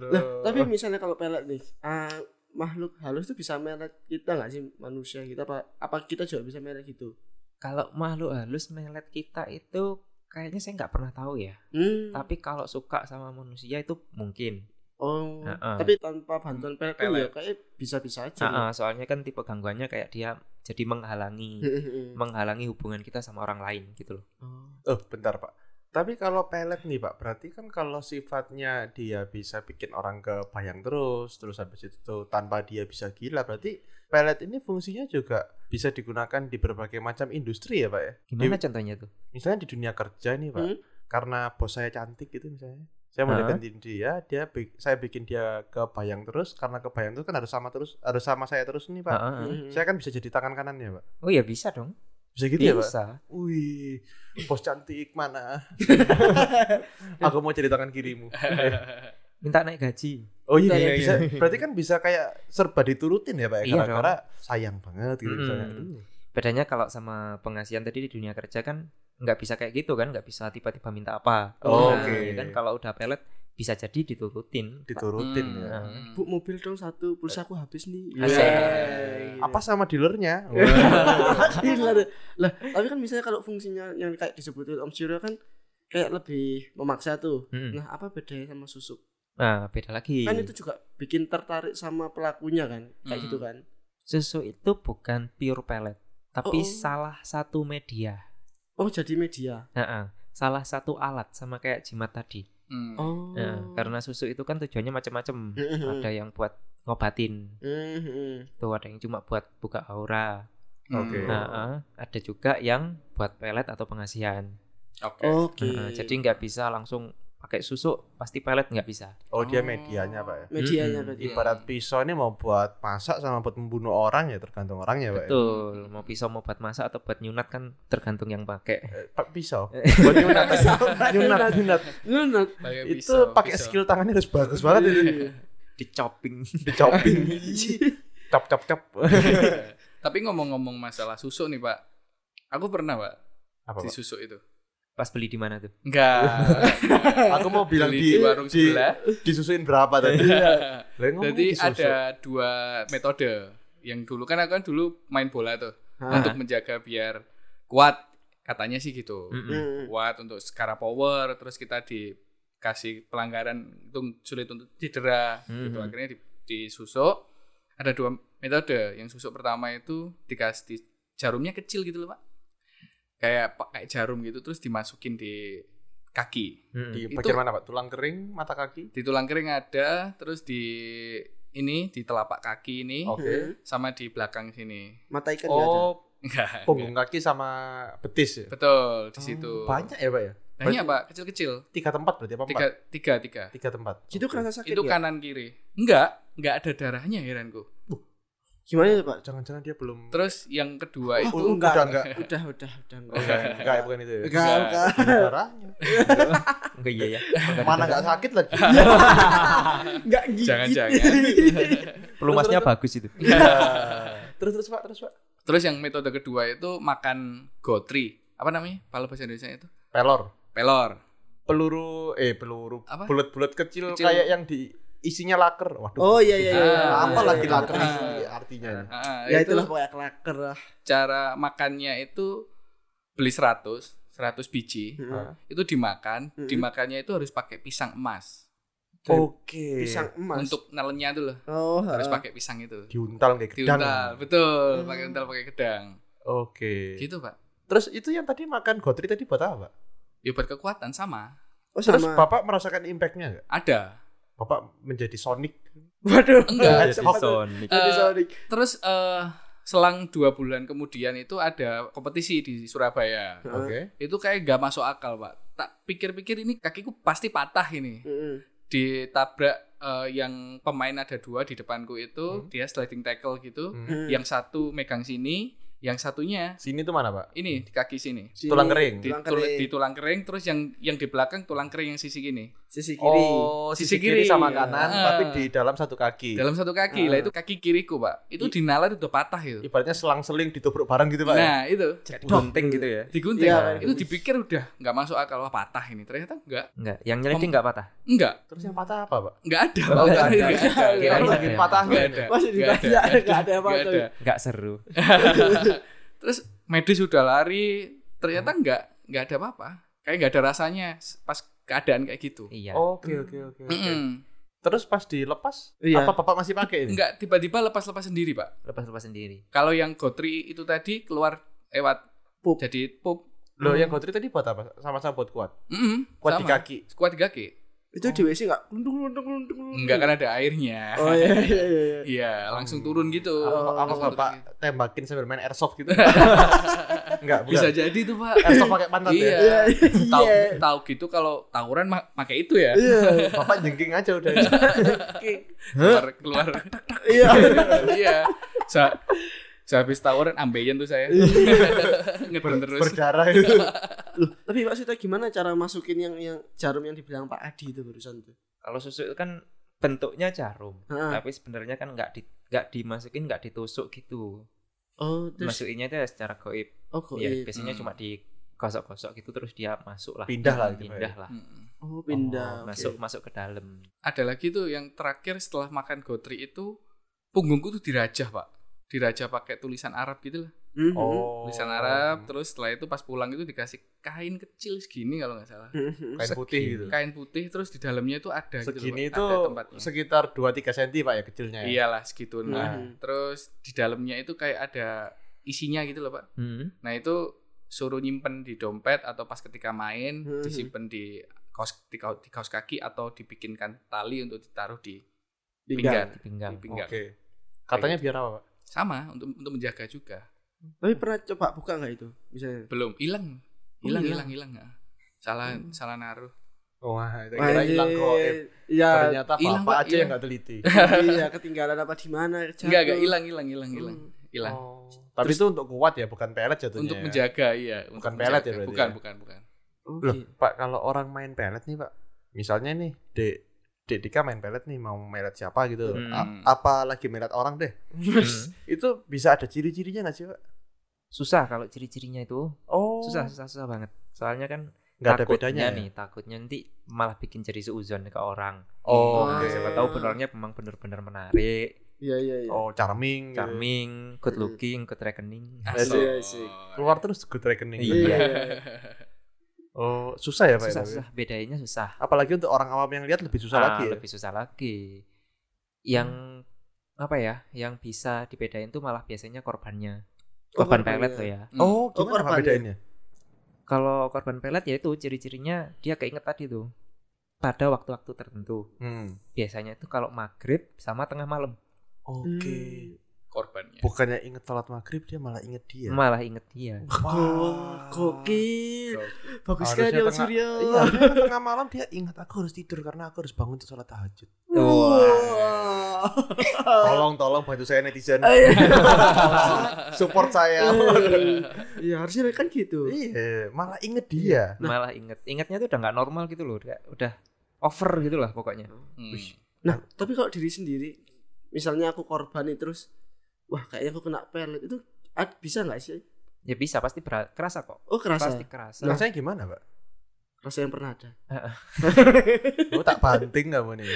tapi
Oh.
misalnya kalau pelet nih, ah, makhluk halus tuh bisa melet kita nggak sih manusia kita apa apa kita juga bisa melet gitu?
Kalau makhluk halus melet kita itu kayaknya saya nggak pernah tahu ya.
Hmm.
Tapi kalau suka sama manusia itu mungkin.
oh,
Heeh. Hmm,
tapi tanpa bantuan pelet, kan
Pelet.
ya kayak bisa-bisa aja.
Heeh, soalnya kan tipe gangguannya kayak dia jadi
Hmm.
menghalangi
Heeh.
menghalangi hubungan kita sama orang lain gitu loh.
Oh.
Oh, bentar, Pak. Tapi kalau pelet nih, Pak, berarti kan kalau sifatnya dia bisa bikin orang kebayang terus, terus habis itu tuh tanpa dia bisa gila, berarti pelet ini fungsinya juga bisa digunakan di berbagai macam industri ya, Pak ya?
Gimana
Di-
contohnya tuh?
misalnya di dunia kerja nih, Pak.
Hmm.
Karena bos saya cantik gitu misalnya. Saya mau
Hah?
deketin dia, dia bi- saya bikin dia kebayang terus karena kebayang terus kan harus sama terus, harus sama saya terus nih, Pak.
Heeh.
Heeh.
Saya kan bisa jadi tangan kanannya, Pak.
Oh ya bisa dong.
Bisa gitu ya, Pak?
bisa.
Wih, bos cantik mana? Aku mau jadi tangan kirimu. Eh,
Minta naik gaji.
Oh iya,
Iya,
iya, bisa. Berarti kan bisa kayak serba diturutin ya, Pak. ya? Karena,
Iya, dong.
karena sayang banget gitu
Mm.
misalnya.
Bedanya kalau sama pengasihan tadi di dunia kerja kan nggak bisa kayak gitu kan, nggak bisa tiba-tiba minta apa.
Oh,
Nah,
oke.
ya kan kalau udah pelet bisa jadi diturutin.
Diturutin
Hmm.
ya.
Hmm.
Bu mobil dong satu, pulsa aku habis nih.
Asik.
Yeay.
Apa sama dealernya?
Gila deh. lah tapi kan misalnya kalau fungsinya yang kayak disebutin Om Suryo kan kayak lebih memaksa tuh
Mm.
nah apa bedanya sama susuk
Nah, beda lagi.
kan itu juga bikin tertarik sama pelakunya kan kayak
Hmm.
gitu kan
Susu itu bukan pure pelet, tapi
Oh.
salah satu media.
oh jadi media
Heeh. Salah satu alat sama kayak jimat tadi.
Hmm.
oh
Nah, karena susu itu kan tujuannya macam-macam.
Mhm.
ada yang buat ngobatin,
Mhm.
tuh ada yang cuma buat buka aura.
Oke.
Oh.
Hmm,
Nah, eh, ada juga yang buat pelet atau pengasihan.
Oke.
oke
Nah, eh, jadi nggak bisa langsung pakai susuk, pasti pelet nggak bisa.
Oh, dia medianya, Pak. ya?
medianya
Mm-mm.
berarti
Iya.
Ibarat pisau ini mau buat masak sama buat membunuh orang ya tergantung orangnya, Pak. ya?
Betul. Mau pisau, mau buat masak atau buat nyunat kan tergantung yang pakai.
Eh, Pak pisau.
Eh.
Buat nyunat. nyunat, nyunat.
Nunut.
Pakai
Itu
pisau,
pakai
pisau.
skill tangannya harus bagus banget itu.
Di chopping.
Di chopping. cap cap cap.
Tapi ngomong-ngomong masalah susu nih pak, aku pernah pak
Apa,
di
Pak?
susu itu.
Pas beli di mana tuh?
Enggak.
Aku mau bilang
Beli
di,
di warung
di-
sebelah.
disusuin berapa tadi? Lah, ngomong
Iya. Jadi
disusuk.
ada dua metode. Yang dulu kan aku kan dulu main bola tuh
Hah.
untuk menjaga biar kuat katanya sih gitu.
Mm.
Mm-mm.
Kuat untuk secara power terus kita dikasih pelanggaran itu sulit untuk cedera gitu.
Mhm.
Hmm.
Akhirnya di- disusuk ada dua metode. Yang susuk pertama itu dikasih di- jarumnya kecil gitu loh, Pak. Kayak pakai jarum gitu terus dimasukin di kaki.
Mm-mm.
Di
Itu-
bagian mana, Pak? Tulang kering, mata kaki?
di tulang kering ada terus di ini di telapak kaki ini
Oke.
sama di belakang sini
mata ikan nggak ada
Oh,
enggak
punggung kaki sama betis ya?
betul di situ
Banyak ya, Pak ya?
banyak pak kecil-kecil
Tiga tempat berarti apa
tiga
empat?
tiga tiga
Tiga tempat.
itu
Oke.
kerasa sakit
itu kan-
nggak?
kanan kiri enggak enggak ada darahnya heranku
gimana tuh pak
Jangan-jangan dia belum...
terus yang kedua
Oh,
itu
enggak.
Udah, enggak.
udah udah udah
Oh, enggak, enggak, ya, bukan itu ya?
enggak enggak
Darahnya.
Enggak iya ya.
Mana enggak sakit lagi.
enggak gigit
Jangan-jangan.
Pelumasnya bagus itu.
Iya, terus terus Pak, terus Pak.
terus yang metode kedua itu makan gotri apa namanya palu bahasa Indonesia itu
Pelor.
pelor
Peluru eh peluru
Apa?
bulat-bulat kecil,
Kecil.
kayak yang di isinya laker. Waduh.
oh iya iya iya
Ah,
apa lagi
iya, iya.
laker ini artinya? ini?
Ah,
ya
itu
itulah pokoknya klaker lah
cara makannya itu beli 100 100 biji
Mm.
itu dimakan,
Mm-mm.
dimakannya itu harus pakai pisang emas.
Oke.
pisang emas
Untuk nelennya itu loh,
oh
harus
heeh.
pakai pisang itu.
diuntal kayak gitu. gedang.
Diuntal, betul,
Hmm.
pakai untal pakai gedang.
Oke.
Gitu, Pak.
Terus itu yang tadi makan gotri tadi buat apa? Pak?
Ya buat kekuatan sama.
oh
Terus
sama
Bapak merasakan impactnya nggak?
Ada.
Bapak menjadi Sonic.
waduh
Enggak.
Jadi
Sonic.
Eh,
Sorry.
terus eh selang dua bulan kemudian itu ada kompetisi di Surabaya.
Oke.
Itu kayak gak masuk akal, Pak. Tak pikir-pikir ini kakiku pasti patah ini.
Mm-mm.
Ditabrak eh, yang pemain ada dua di depanku itu, dia sliding tackle gitu.
Hmm.
Mm.
Yang satu megang sini, yang satunya
Sini tuh mana, Pak?
ini di kaki sini.
Sini,
Tulang kering.
Di,
tulang
tul-
kering.
di tulang kering terus yang yang di belakang tulang kering yang sisi gini.
sisi kiri.
Oh,
Sisi
sisi kiri
kiri.
sama kanan,
Ah.
tapi di dalam satu kaki.
Dalam satu kaki.
Ah.
Lah itu kaki kiriku, Pak. Itu dinalar udah patah itu.
Ibaratnya selang-seling ditubruk bareng gitu, Pak. ya?
Nah, itu.
gunting gitu ya
digunting
Iya,
itu
bagus.
dipikir udah nggak masuk akal wah patah ini ternyata nggak
enggak yang nyeliding enggak patah
nggak
Terus yang patah apa, Pak?
nggak ada
Oh, nggak ada.
nggak ada nggak
Kirain
ada
ada yang
patah.
nggak ada
Masih
nggak ada,
ditanya, nggak ada yang
nggak
patah.
ada.
enggak seru
terus medis sudah lari ternyata nggak nggak ada apa-apa kayak nggak ada rasanya pas keadaan kayak gitu
iya
Oke, oke, oke. oke.
Mm-mm.
Terus pas dilepas,
Iya.
apa Bapak masih pakai ini?
nggak tiba-tiba lepas-lepas sendiri pak
lepas-lepas sendiri
kalau yang gotri itu tadi keluar lewat
Pup.
jadi pup
Loh, yang Gotri tadi buat apa? Sama-sama buat kuat.
Mm-mm,
Kuat di
sama.
kaki.
kuat di kaki
Itu di WC enggak? Lundung lundung lundung. lundung.
nggak kan ada airnya
Oh iya iya iya. iya.
Iya, langsung turun gitu.
Apa, apa
Langsung
Bapak
turun gitu.
tembakin sambil main airsoft gitu? Enggak, bukan.
Bisa jadi tuh, Pak.
Airsoft pakai pantat
iya.
ya.
Iya, iya.
Tahu tahu gitu kalau tawuran ma- pakai itu ya.
Iya.
Bapak jengking aja udah.
Keluar keluar.
Iya.
iya. Sa sehabis tawuran ambeien tuh saya.
Iya.
Ngedon terus.
Berdarah itu.
Loh, tapi maksudnya gimana cara masukin yang yang jarum yang dibilang Pak Adi itu barusan tuh?
kalau susu itu kan bentuknya jarum
Ha.
tapi sebenarnya kan enggak di enggak dimasukin enggak ditusuk gitu
Oh, terus
masukinnya itu ya secara goib
oh kok
ya
iya.
biasanya
Hmm.
cuma digosok-gosok gitu terus dia masuk lah
Pindah lah gitu,
pindah lah
Mm-mm.
Oh,
Oh,
pindah. oke.
masuk masuk ke dalam
Ada lagi tuh yang terakhir setelah makan gotri itu punggungku tuh dirajah, Pak. Dirajah pakai tulisan Arab gitu lah.
Mhm.
Oh.
Tulisan Arab, terus setelah itu pas pulang itu dikasih kain kecil segini kalau nggak salah.
Mhm.
Kain putih
Segini.
gitu.
Kain putih terus di dalamnya itu ada gitu loh,
Segini
Pak.
itu
ada tempatnya.
sekitar 2-3 cm Pak ya kecilnya ya.
Iyalah segitu nah.
Mhm.
Terus di dalamnya itu kayak ada isinya gitu loh, Pak. Nah, itu suruh nyimpen di dompet atau pas ketika main
Mhm.
disimpan di kaos di, kau- di kaos kaki atau dibikinkan tali untuk ditaruh di pinggang,
Pinggang.
di
di
pinggang Oh,
pinggang.
Oke.
gitu.
Katanya biar apa, Pak?
Sama untuk untuk menjaga juga.
Tapi pernah coba buka nggak itu? Misalnya.
Belum hilang.
Oh,
Hilang
hilang.
hilang hilang nggak? Salah salah naruh.
Oh, Wah, kira hilang kok.
Anjir.
Eh,
Iya,
Ternyata
hilang,
Bapak
Pak,
aja yang
hilang.
nggak teliti.
iya ketinggalan apa di mana?
Enggak enggak
jatuh.
hilang hilang hilang hilang.
Hmm.
Hilang.
Oh. Tapi itu untuk kuat ya, bukan pelet jatuhnya.
untuk
ya.
menjaga iya, untuk
Bukan pelet ya
menjaga.
berarti
Bukan
ya?
bukan bukan.
Oke.
Loh, Pak, kalau orang main pelet nih, Pak. Misalnya nih, Dek Dek Dika main pelet nih, mau melet siapa gitu.
Hmm.
A- apa lagi melet orang deh. Itu bisa ada ciri-cirinya nggak sih, Pak?
susah kalau ciri-cirinya itu
Oh,
susah susah susah banget soalnya kan
nggak ada
takutnya
bedanya. ya?
nih takutnya nanti malah bikin jadi seuzon ke orang
Oh,
Nah,
oke.
siapa tahu penerangnya memang benar-benar menarik
Iya iya iya.
Oh, charming. gitu.
charming good looking good reckoning Nah,
Asik,
asik.
Keluar terus good reckoning.
Iya.
Oh, susah ya, Pak.
susah
ya, Pak?
susah bedainnya susah
Apalagi untuk orang awam yang lihat lebih susah
Ah,
lagi. ya?
lebih susah lagi yang
Hmm.
apa ya yang bisa dibedain tuh malah biasanya korbannya korban pelet tuh ya
Oh,
Oh,
gimana
korban
Pak
ya?
bedainnya?
kalau korban pelet ya itu ciri-cirinya dia keinget tadi tuh pada waktu-waktu tertentu
Hmm.
biasanya itu kalau maghrib sama tengah malam
Oke.
korbannya.
Hmm. Bukannya inget sholat maghrib dia malah inget dia.
malah inget dia
Wah.
Gokil. Bagus
Harusnya
sekali Om
tengah-
Suryo.
Iya, dia tengah malam dia ingat aku harus tidur karena aku harus bangun untuk sholat tahajud.
Wah.
Tolong tolong bantu saya netizen.
Iya.
Support saya.
Iya, harusnya kan gitu.
Ya Iya, malah inget dia.
malah inget ingetnya tuh udah nggak normal gitu loh udah, udah over gitu lah pokoknya
Hmm.
Nah, tapi kalau diri sendiri, misalnya aku korban nih terus, wah kayaknya aku kena pelet itu ad- bisa nggak sih?
ya bisa pasti bera- kerasa kok
Oh kerasa,
pasti kerasa
Nah, saya gimana, Pak?
kerasa yang pernah ada.
Gue tak banting kamu nih.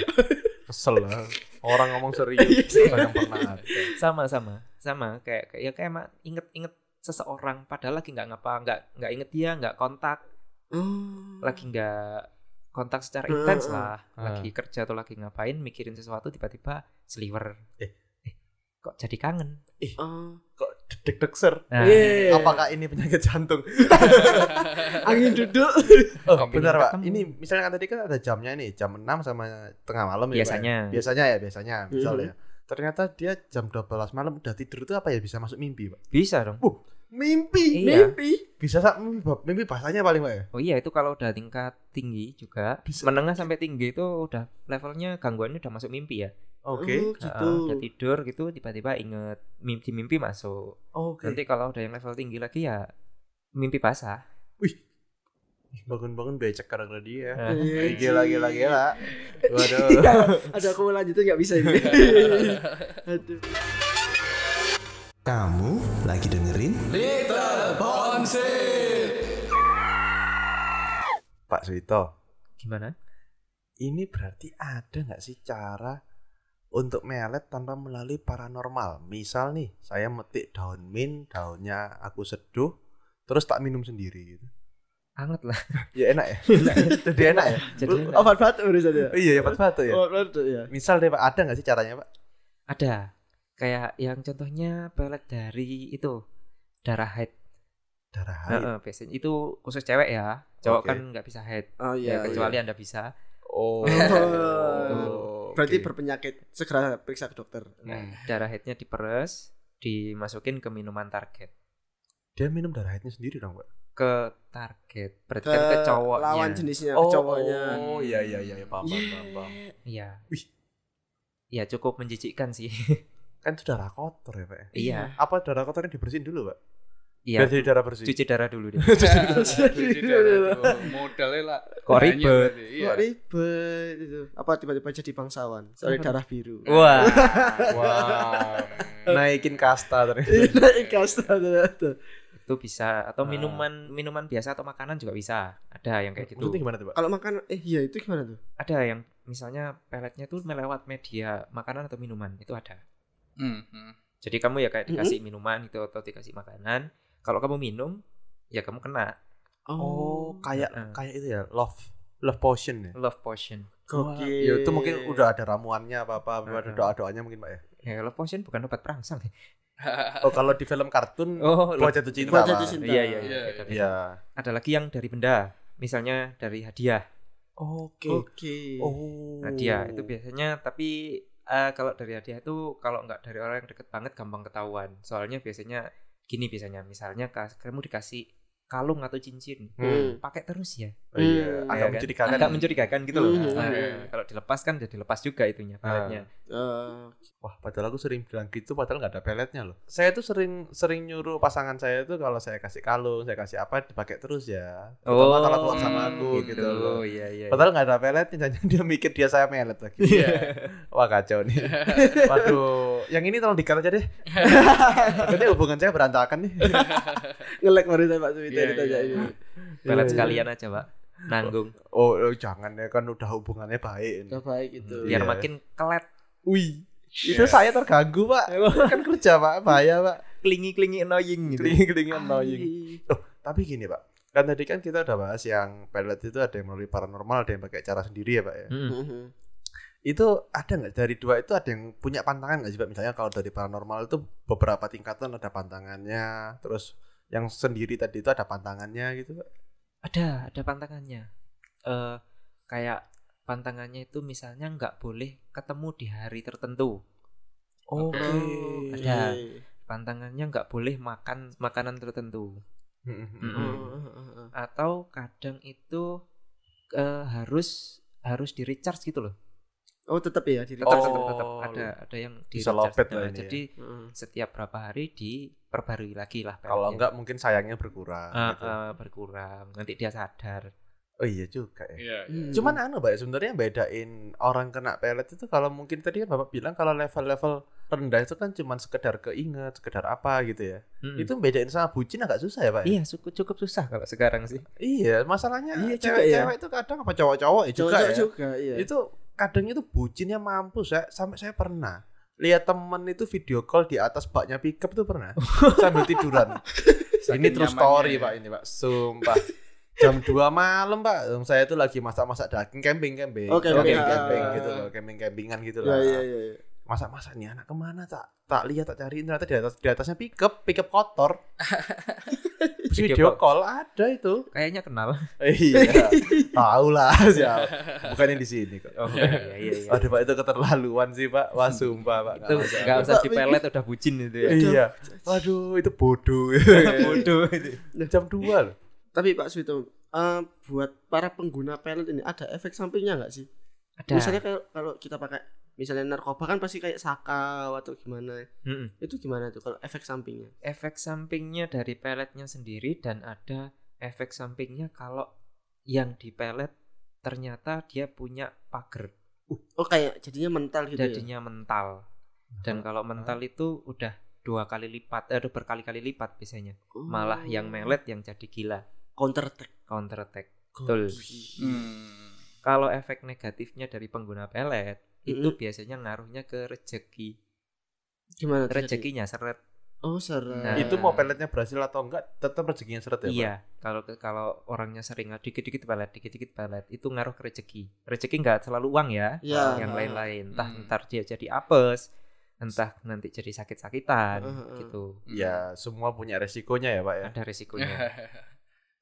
Kesel lah. Orang ngomong serius,
Iya sih.
orang pernah.
sama sama sama kayak kayak- ya kayak emang inget inget seseorang padahal lagi nggak ngapa nggak nggak inget dia nggak kontak
Oh.
lagi nggak kontak secara
Hmm,
intens
hmm.
lah
Hmm.
lagi kerja atau lagi ngapain mikirin sesuatu tiba-tiba seliver
Eh.
Eh, kok jadi kangen
Oh.
Deg-degser.
nah,
Iya.
Apakah ini penyakit jantung?
angin duduk?
Oh,
Kok
benar
bingung
Pak.
ketemu?
Ini misalnya kan tadi kan ada jamnya nih, jam 6 sama tengah malam ya, Pak, ya?
biasanya
Biasanya ya, biasanya misalnya. ternyata dia jam 12 malam udah tidur itu apa ya bisa masuk mimpi pak
Bisa dong.
mimpi
Iya.
Mimpi.
bisa Sak. mimpi, Pak. mimpi bahasanya paling pak ya
Oh iya itu kalau udah tingkat tinggi juga
Bisa.
menengah sampai tinggi itu udah levelnya gangguannya udah masuk mimpi ya.
oke
Oh,
Heeh, udah
gitu.
tidur gitu tiba-tiba inget mimpi mimpi masuk.
Oh,
oke
Nanti kalau udah yang level tinggi lagi ya mimpi basah.
bangun-bangun becek karena dia
Nah,
Iya,
Eh, gila gila gila waduh
Ada Iya. aku mau lanjutin nggak bisa ini. Aduh.
Kamu lagi dengerin
pak Suito
gimana?
ini berarti ada nggak sih cara untuk melet tanpa melalui paranormal misal nih saya metik daun mint daunnya aku seduh terus tak minum sendiri gitu
Anget lah.
ya enak ya jadi enak ya
Jadi enak.
Obat batu barusan ya.
Oh iya ya batu ya
Obat batu ya.
misal deh pak ada nggak sih caranya pak
ada kayak yang contohnya pelet dari itu darah haid.
darah haid
Heeh, biasanya itu khusus cewek ya. Cowok
Oke.
kan nggak bisa haid.
Oh iya.
Ya, kecuali
iya.
Anda bisa.
oh,
Oh. Berarti
oke.
berpenyakit segera periksa ke dokter.
Nah, darah haidnya diperes, dimasukin ke minuman target.
dia minum darah haidnya sendiri dong pak
Ke target, berarti kan ke cowoknya.
lawan jenisnya, ke cowoknya.
oh iya iya iya paham paham paham, paham.
Iya.
Wih.
Iya, cukup menjijikkan sih.
kan itu darah kotor ya pak ya?
Iya.
apa darah kotornya dibersihin dulu pak biar
Iya.
jadi darah bersih
Cuci darah dulu deh.
modalnya lah
Kok
banyak
ribet?
berarti, iya.
Kok ribet itu. Apa tiba-tiba jadi bangsawan?
Iya.
Soalnya darah biru.
Wah.
Wah, naikin kasta ternyata.
Naik kasta ternyata.
Itu bisa atau
Ah.
minuman minuman biasa atau makanan juga bisa. Ada yang kayak gitu.
Maksudnya gimana tuh, Pak?
Kalau makan eh iya itu gimana tuh?
Ada yang misalnya peletnya tuh melewat media makanan atau minuman, itu ada.
Hmm, hmm.
Jadi kamu ya kayak dikasih minuman gitu atau dikasih makanan. Kalau kamu minum, ya kamu kena
Oh, kayak
Heeh.
kayak itu ya, love love potion ya.
love potion.
Gokil.
Ya itu mungkin udah ada ramuannya apa-apa,
Heeh.
ada doa-doanya mungkin, Pak ya.
Ya love potion bukan obat perangsang. ya?
Oh, kalau di film kartun
Oh,
buat
love-
jatuh cinta.
Buat
Pak.
jatuh cinta.
Iya, iya, iya.
Iya,
Beda-beda.
Iya.
Ada lagi yang dari benda, misalnya dari hadiah.
Oke.
Oke.
Oh.
Hadiah Nah, itu biasanya tapi eh, kalau dari hadiah itu kalau nggak dari orang yang deket banget gampang ketahuan. Soalnya biasanya gini biasanya, misalnya kas- kamu dikasih kalung atau cincin,
Hmm.
pakai terus ya.
Oh, Iya,
Hmm.
agak
Ya kan?
mencurigakan.
Agak mencurigakan gitu loh.
Hmm.
Nah, kalau dilepas kan jadi lepas juga itunya peletnya.
Eh,
Wah, padahal aku sering bilang gitu padahal nggak ada peletnya loh. Saya tuh sering sering nyuruh pasangan saya tuh kalau saya kasih kalung, saya kasih apa dipakai terus ya. Terutama kalau keluar sama aku gitu loh.
Oh iya iya.
Padahal nggak ada peletnya, jangan dia mikir dia saya melet lagi.
Iya.
Wah kacau nih. Iya. Waduh, yang ini tolong dikat aja deh. Takutnya hubungan saya berantakan nih.
ngelek barusan Pak Suwita
Iya,
ditanya
iya.
ini.
pelet sekalian aja pak nanggung
Oh, oh, jangan ya kan udah hubungannya baik.
Udah baik itu.
biar
Iya.
makin kelet
Wih, itu saya terganggu pak. kan kerja pak, bahaya pak.
klingi klingi annoying gitu
Kelingi-kelingi annoying. Tapi gini pak, kan tadi kan kita udah bahas yang pelet itu ada yang melalui paranormal, ada yang pakai cara sendiri ya pak ya.
Mm.
Mhm.
Itu ada nggak dari dua itu ada yang punya pantangan nggak sih pak? Misalnya kalau dari paranormal itu beberapa tingkatan ada pantangannya, terus yang sendiri tadi itu ada pantangannya gitu pak.
ada ada pantangannya eh kayak pantangannya itu misalnya nggak boleh ketemu di hari tertentu
Oke.
Ada. pantangannya nggak boleh makan makanan tertentu Mm.
Oh, oh, oh, oh.
atau kadang itu eh, harus harus di recharge gitu loh
Oh, tetap ya diri.
Oh.
tetap tetap, tetap ada ada yang di
Bisa
recharge.
lopet lah
Nah,
ini ya.
jadi
Heeh.
setiap berapa hari diperbarui lagi lah
Kalau
peletnya.
enggak mungkin sayangnya berkurang.
Ah,
gitu.
ah, berkurang nanti dia sadar
Oh iya juga ya.
Iya, iya.
Hmm.
Cuman anu mbak sebenarnya bedain orang kena pelet itu kalau mungkin tadi kan bapak bilang kalau level-level rendah itu kan cuman sekedar keinget, sekedar apa gitu ya.
Mm.
Itu bedain sama bucin agak susah ya pak. ya?
Iya, cukup cukup susah kalau sekarang sih.
Iya, masalahnya
Iya juga
cewek-cewek
ya.
itu kadang apa cowok-cowok ya juga
Cowok-cowok
ya.
juga, iya.
Itu kadang itu bucinnya mampus ya. Sampai saya pernah lihat temen itu video call di atas baknya pickup tuh pernah sambil tiduran. ini
Saking
true
nyamannya
story
ya.
pak ini pak sumpah jam 2 malam pak Yang saya tuh lagi masak-masak daging camping camping
Oh, camping.
camping,
Ah.
gitu loh camping campingan gitu
Ya,
lah
ya, ya, ya.
masa-masa nih anak kemana tak tak lihat tak cariin ternyata di atas di atasnya pickup pickup kotor Terus video
Video
call ada itu
Kayaknya kenal.
iya tahu lah siapa bukannya di sini kok
Oh iya iya iya.
Waduh pak itu keterlaluan sih pak wah sumpah pak
itu
masuk
nggak
akal.
usah
Pak,
dipelet udah bucin itu ya.
iya waduh itu bodoh
Bodoh itu.
jam 2 loh
Tapi Pak Suito, eh, buat para pengguna pelet ini ada efek sampingnya nggak sih?
Ada.
Misalnya kalau, kalau kita pakai misalnya narkoba kan pasti kayak sakau atau gimana.
Mm-mm.
Itu gimana tuh kalau efek sampingnya?
efek sampingnya dari peletnya sendiri dan ada efek sampingnya kalau yang di pelet ternyata dia punya pagar
Oh kayak jadinya mental gitu ya.
jadinya mental dan kalau mental itu udah dua kali lipat aduh berkali-kali lipat biasanya
Oh.
malah yang melet yang jadi gila
counter attack.
counter attack betul
Mm.
Hmm.
kalau efek negatifnya dari pengguna pelet itu
Mm-mm.
biasanya ngaruhnya ke rezeki
Gimana tuh
rezekinya seret
jadinya? Oh, seret.
Nah.
itu mau peletnya berhasil atau enggak tetap rezekinya seret ya Pak?
Iya, kalau ke- kalau orangnya sering dikit-dikit pelet, dikit-dikit pelet, itu ngaruh ke rezeki. Rezeki nggak selalu uang ya,
Iya.
yang lain-lain. Entah
Hmm.
ntar dia jadi apes, entah nanti jadi sakit-sakitan,
Heeh, heeh.
gitu.
ya semua punya resikonya ya pak ya
Ada risikonya.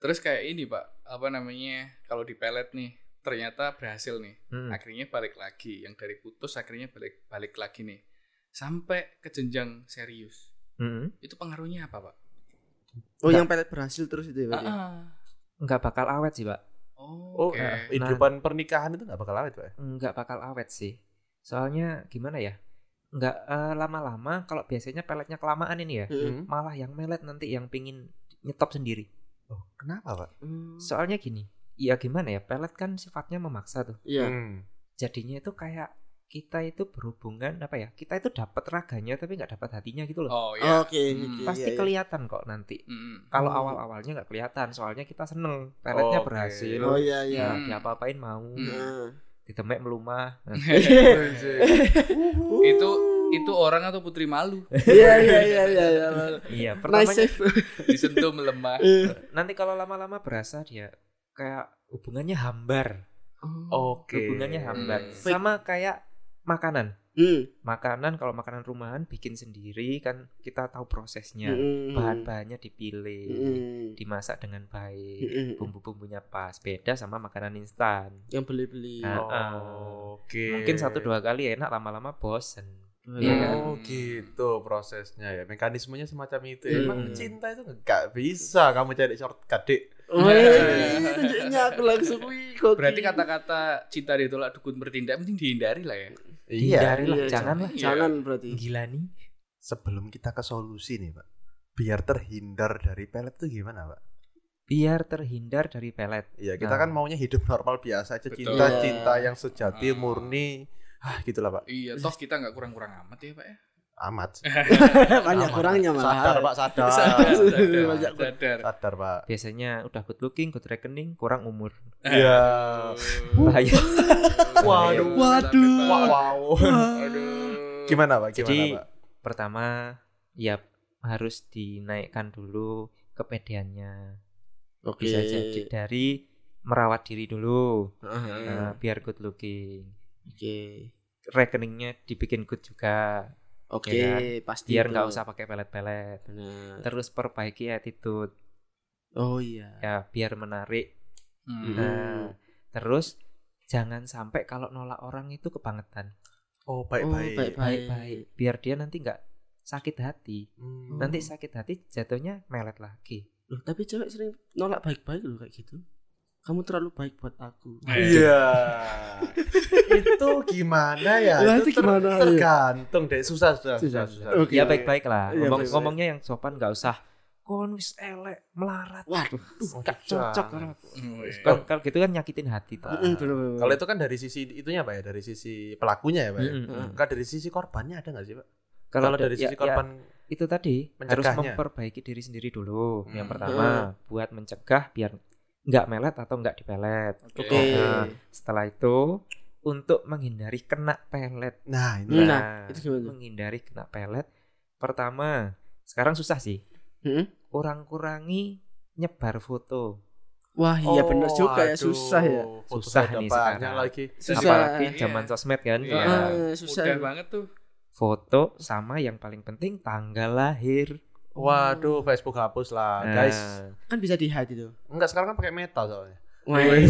Terus kayak ini pak, apa namanya kalau di pelet nih ternyata berhasil nih,
Hmm.
akhirnya balik lagi. Yang dari putus akhirnya balik balik lagi nih, sampai ke jenjang serius.
Mm-mm.
Itu pengaruhnya apa pak?
Oh, yang
Nah.
pelet berhasil terus itu ya. Pak, ya?
Ah.
Nggak bakal awet sih, Pak.
oh
Oh, oke.
nah, kehidupan pernikahan itu nggak bakal awet pak ya?
Nggak bakal awet sih. Soalnya gimana ya? Nggak eh, lama-lama. Kalau biasanya peletnya kelamaan ini ya,
Mm.
malah yang melet nanti yang pingin nyetop sendiri.
Oh, kenapa pak
Hmm.
Soalnya gini, ya gimana ya? Pelet kan sifatnya memaksa tuh.
Iya.
Hmm.
jadinya itu kayak kita itu berhubungan apa ya kita itu dapat raganya tapi nggak dapat hatinya gitu loh
Oh iya. Mm-hmm.
Oke,
Hmm.
oke,
pasti
iya, iya.
kelihatan kok nanti
Mm-mm.
kalau
Hmm.
awal awalnya nggak kelihatan soalnya kita seneng peletnya
Oke.
berhasil
Oh iya iya.
ya
Hmm.
diapa-apain mau
Hmm.
Nah.
ditemek melumah Nah,
Iya, itu itu orang atau putri malu
Uh. Iya iya iya iya. iya.
iya
Nice
pertamanya
save.
disentuh melemah.
Iya,
nanti kalau lama-lama berasa dia kayak hubungannya hambar
Oh.
oke
hubungannya hambar
Hmm.
sama kayak makanan
Hmm.
makanan kalau makanan rumahan bikin sendiri kan kita tahu prosesnya
Hmm.
bahan-bahannya dipilih
Hmm.
dimasak dengan
Mm-mm.
baik bumbu-bumbunya pas beda sama makanan instan
Yang beli-beli.
Nah.
Oh, oke
mungkin satu dua kali enak lama-lama bosen
Iya
Iya
kan?
kan?
Oh gitu prosesnya ya mekanismenya semacam itu ya.
Hmm.
Iya.
Emang cinta itu nggak bisa kamu cari shortcut dek.
Oh,
Iya,
iya, Wih, tunjuknya aku langsung wih kok.
Berarti kata-kata cinta ditolak dukun bertindak mending dihindari lah ya.
hindari lah
Iya,
janganlah
Iya.
Jangan berarti.
gila nih
Sebelum kita ke solusi nih pak, biar terhindar dari pelet tuh gimana pak?
biar terhindar dari pelet
Iya kita
Nah.
kan maunya hidup normal biasa aja
Betul.
cinta
Iya.
cinta yang sejati
Hmm.
murni. Ah gitulah pak.
Iya, toh kita nggak kurang-kurang amat ya pak ya.
Amat.
Banyak
Amat.
kurangnya
Sadar
malah.
pak sadar.
Sadar,
Ah, Banyak-
sadar.
sadar pak.
biasanya udah good looking good rekening kurang umur
Iya.
bahaya
Waduh.
Waduh.
Wow. wow.
Waduh.
Gimana pak? Gimana
Jadi-
pak?
pertama ya harus dinaikkan dulu kepedeannya
Oke.
bisa jadi dari merawat diri dulu
Ah,
Nah, biar good looking
Oke.
rekeningnya dibikin good juga
Oke,
Ya kan?
pasti.
biar
itu.
nggak usah pakai pelet-pelet
Benar.
terus perbaiki attitude
Oh iya.
ya biar menarik
Hmm.
nah terus jangan sampai kalau nolak orang itu kebangetan
Oh
Oh,
baik-baik.
baik-baik biar dia nanti nggak sakit hati
Hmm.
nanti sakit hati jatuhnya melet lagi
Loh, tapi cewek sering nolak baik-baik loh kayak gitu. Kamu terlalu baik buat aku.
Nah.
Eh.
Iya. itu gimana ya?
Lah,
itu ter-
itu gimana ya?
tergantung deh susah susah susah.
Susah,
susah.
susah. Oke.
ya baik-baik lah
Iya,
Ngomong-
baik-baik.
ngomongnya yang sopan nggak usah kon wis elek melarat
Waduh.
gak cocok
jangan.
kan
Oh, iya.
Kan- kalau gitu kan nyakitin hati tuh
Mm-mm, bener-bener.
Kalau itu kan dari sisi itunya pak ya, dari sisi pelakunya ya pak ya.
Mm-mm.
Mm.
Kalau dari sisi korbannya ada nggak sih pak? Kalau
ada-
dari
ya-
sisi
ya-
korban,
itu tadi harus
Mencegahnya.
memperbaiki diri sendiri dulu. Yang
Hmm.
pertama buat mencegah biar nggak melet atau nggak dipelet.
Oke.
Oke.
Nah, setelah itu untuk menghindari kena pelet.
nah ini
Hmm.
lah.
Nah,
itu gimana tuh?
menghindari kena pelet pertama sekarang susah sih.
Mm-mm.
Kurang-kurangi nyebar foto.
Wah, iya
Oh,
bener juga ya,
aduh,
susah ya.
foto
Susah
saya
nih
banyak
sekarang.
lagi.
Susah.
Apalagi
Iya.
zaman sosmed kan.
Iya.
ya.
Ah, susah.
Mudah banget tuh.
foto sama yang paling penting tanggal lahir.
Waduh, Facebook hapus lah,
Nah,
Ah, guys.
kan bisa di hide itu
Enggak sekarang kan pakai Meta soalnya.
Wih.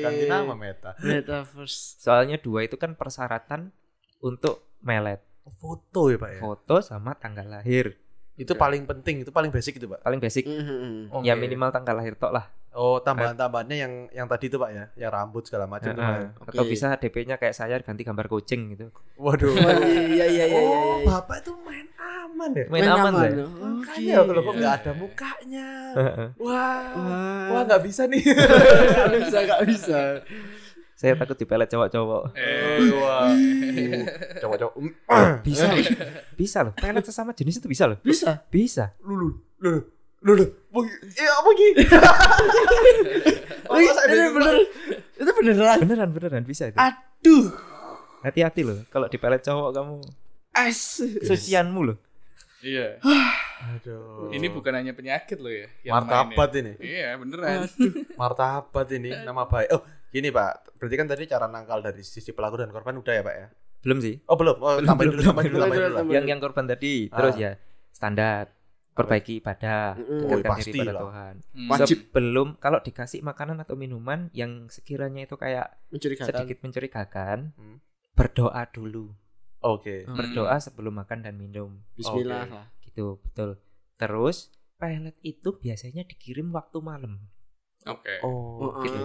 Ganti nama Meta.
metaverse
Soalnya dua itu kan persyaratan untuk melet
Foto ya pak ya.
foto sama tanggal lahir.
Itu paling penting, itu paling basic itu pak.
Paling basic
Mhm.
Oh, Hmm, iya.
ya
Oke.
minimal tanggal lahir tok lah.
Oh tambahan-tambahannya yang yang tadi itu pak ya, yang rambut segala macam. itu, Pak, ya?
Heeh. Nah, Atau
Oke.
bisa DP-nya kayak saya ganti gambar kucing gitu.
Waduh.
Oh, iya iya iya iya
Oh
iya.
bapak itu main aman ya.
Main aman lah. ya.
loh. Oh,
Makanya
Oke.
kalau kok nggak ada mukanya.
Heeh.
Wah. Wah
gitu. Wah,
nggak bisa nih.
nggak bisa nggak bisa.
Saya takut dipelet cowok-cowok.
Eh,
Wah. Cowok-cowok. mm,
Bisa. loh. bisa loh. Pelet sesama jenis itu bisa loh.
Bisa.
Bisa.
Lulu. Lulu. Lulu. Bogi. Eh apa gini?
Wih, ini bener. Itu beneran.
Beneran beneran bisa itu.
Aduh.
Hati-hati loh kalau dipelet cowok kamu
As.
sesianmu loh.
iya.
Aduh.
Ini bukan hanya penyakit lo ya. yang
martabat ini.
main ya. Iya beneran.
Martabat ini nama baik. Oh, gini Pak. Berarti kan tadi cara nangkal dari sisi pelaku dan korban udah ya, Pak ya?
Belum sih.
Oh, belum. Oh, tambahin
belum,
dulu, tambahin dulu,
belum,
tambahin
belum,
dulu.
belum.
Yang yang korban tadi
Ah.
terus ya standar perbaiki ibadah,
Mm-mm.
dekatkan
Oh,
diri
pasti
pada
lah.
Tuhan.
Hmm.
Wajib.
Sebelum kalau dikasih makanan atau minuman yang sekiranya itu kayak
Mencurigakan.
sedikit mencurigakan,
Hmm.
berdoa dulu.
Oke.
Hmm.
Berdoa sebelum makan dan minum.
Bismillah
Oke.
lah.
Gitu, betul. Terus pelet itu biasanya dikirim waktu malam
Oke.
Oh,
Gitu.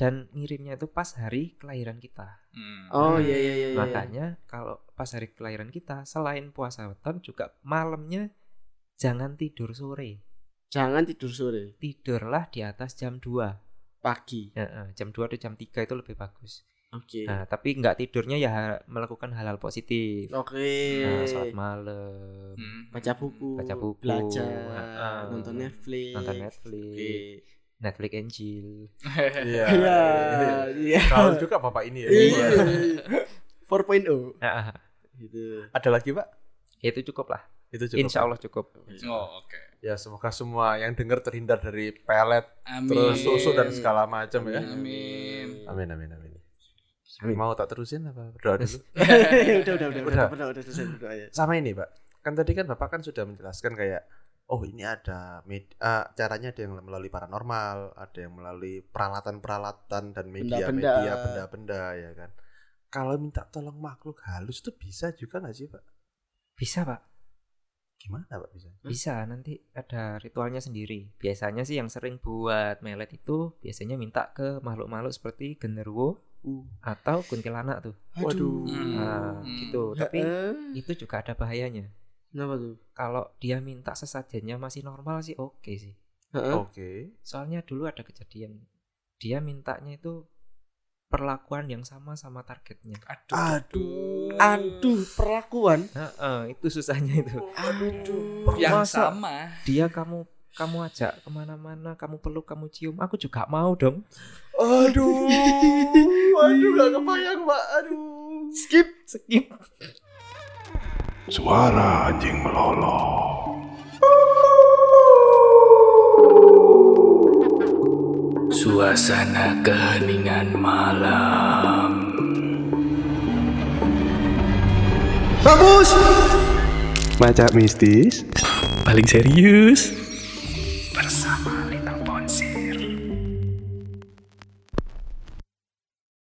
dan ngirimnya itu pas hari kelahiran kita.
Hmm.
Oh iya iya iya. iya.
Makanya kalau pas hari kelahiran kita selain puasa weton juga malamnya jangan tidur sore.
Jangan tidur sore,
Tidurlah di atas jam 2.
pagi.
Heeh, jam 2 atau jam 3 itu lebih bagus.
Oke.
Nah, tapi nggak tidurnya ya ha- melakukan hal-hal positif.
Oke.
Nah,
iya.
sholat malam,
Hmm.
Baca buku,
Baca buku. Heeh.
belajar, nonton Netflix.
nonton Netflix,
Oke.
Netflix and chill.
Iya.
Iya, iya.
Kalau juga Bapak ini ya.
Iya. 4.0
Nah,
gitu.
Ada lagi, Pak?
itu cukup lah.
Itu cukup.
Insya Allah cukup.
Oh oke.
Ya, semoga semua yang dengar terhindar dari pelet,
Amin.
terus susuk dan segala macam ya.
Amin.
Amin, amin, amin.
Amin.
Mau tak terusin apa? Berdoa dulu.
Iya.
udah, udah, udah,
Udah.
udah, udah, udah, selesai berdoanya.
sama ini pak kan tadi kan bapak kan sudah menjelaskan kayak oh ini ada med- eh, caranya ada yang melalui paranormal ada yang melalui peralatan-peralatan dan
Benda-benda.
media-media benda-benda ya kan kalau minta tolong makhluk halus tuh bisa juga nggak sih pak
Bisa pak?
gimana pak bisa
Hmm.
Bisa. Nanti ada ritualnya sendiri. Biasanya sih yang sering buat melet itu biasanya minta ke makhluk-makhluk seperti genderuwo atau kuntilanak tuh.
Waduh.
Uh. Hmm. Ya, eh.
Nah, gitu. Tapi
Heeh.
itu juga ada bahayanya.
Kenapa tuh?
Kalau dia minta sesajennya masih normal sih oke sih.
Heeh.
oke
Soalnya dulu ada kejadian dia mintanya itu perlakuan yang sama sama targetnya.
Aduh.
aduh
Aduh, perlakuan.
Heeh, itu susahnya itu.
Aduh.
Yang
Masa?
sama.
Dia kamu kamu ajak kemana-mana, kamu peluk, kamu cium, aku juga mau dong.
aduh aduh gak kebayang pak aduh
Skip.
Skip.
Suara anjing melolong.
Suasana keheningan malam.
Maca mistis
Paling serius.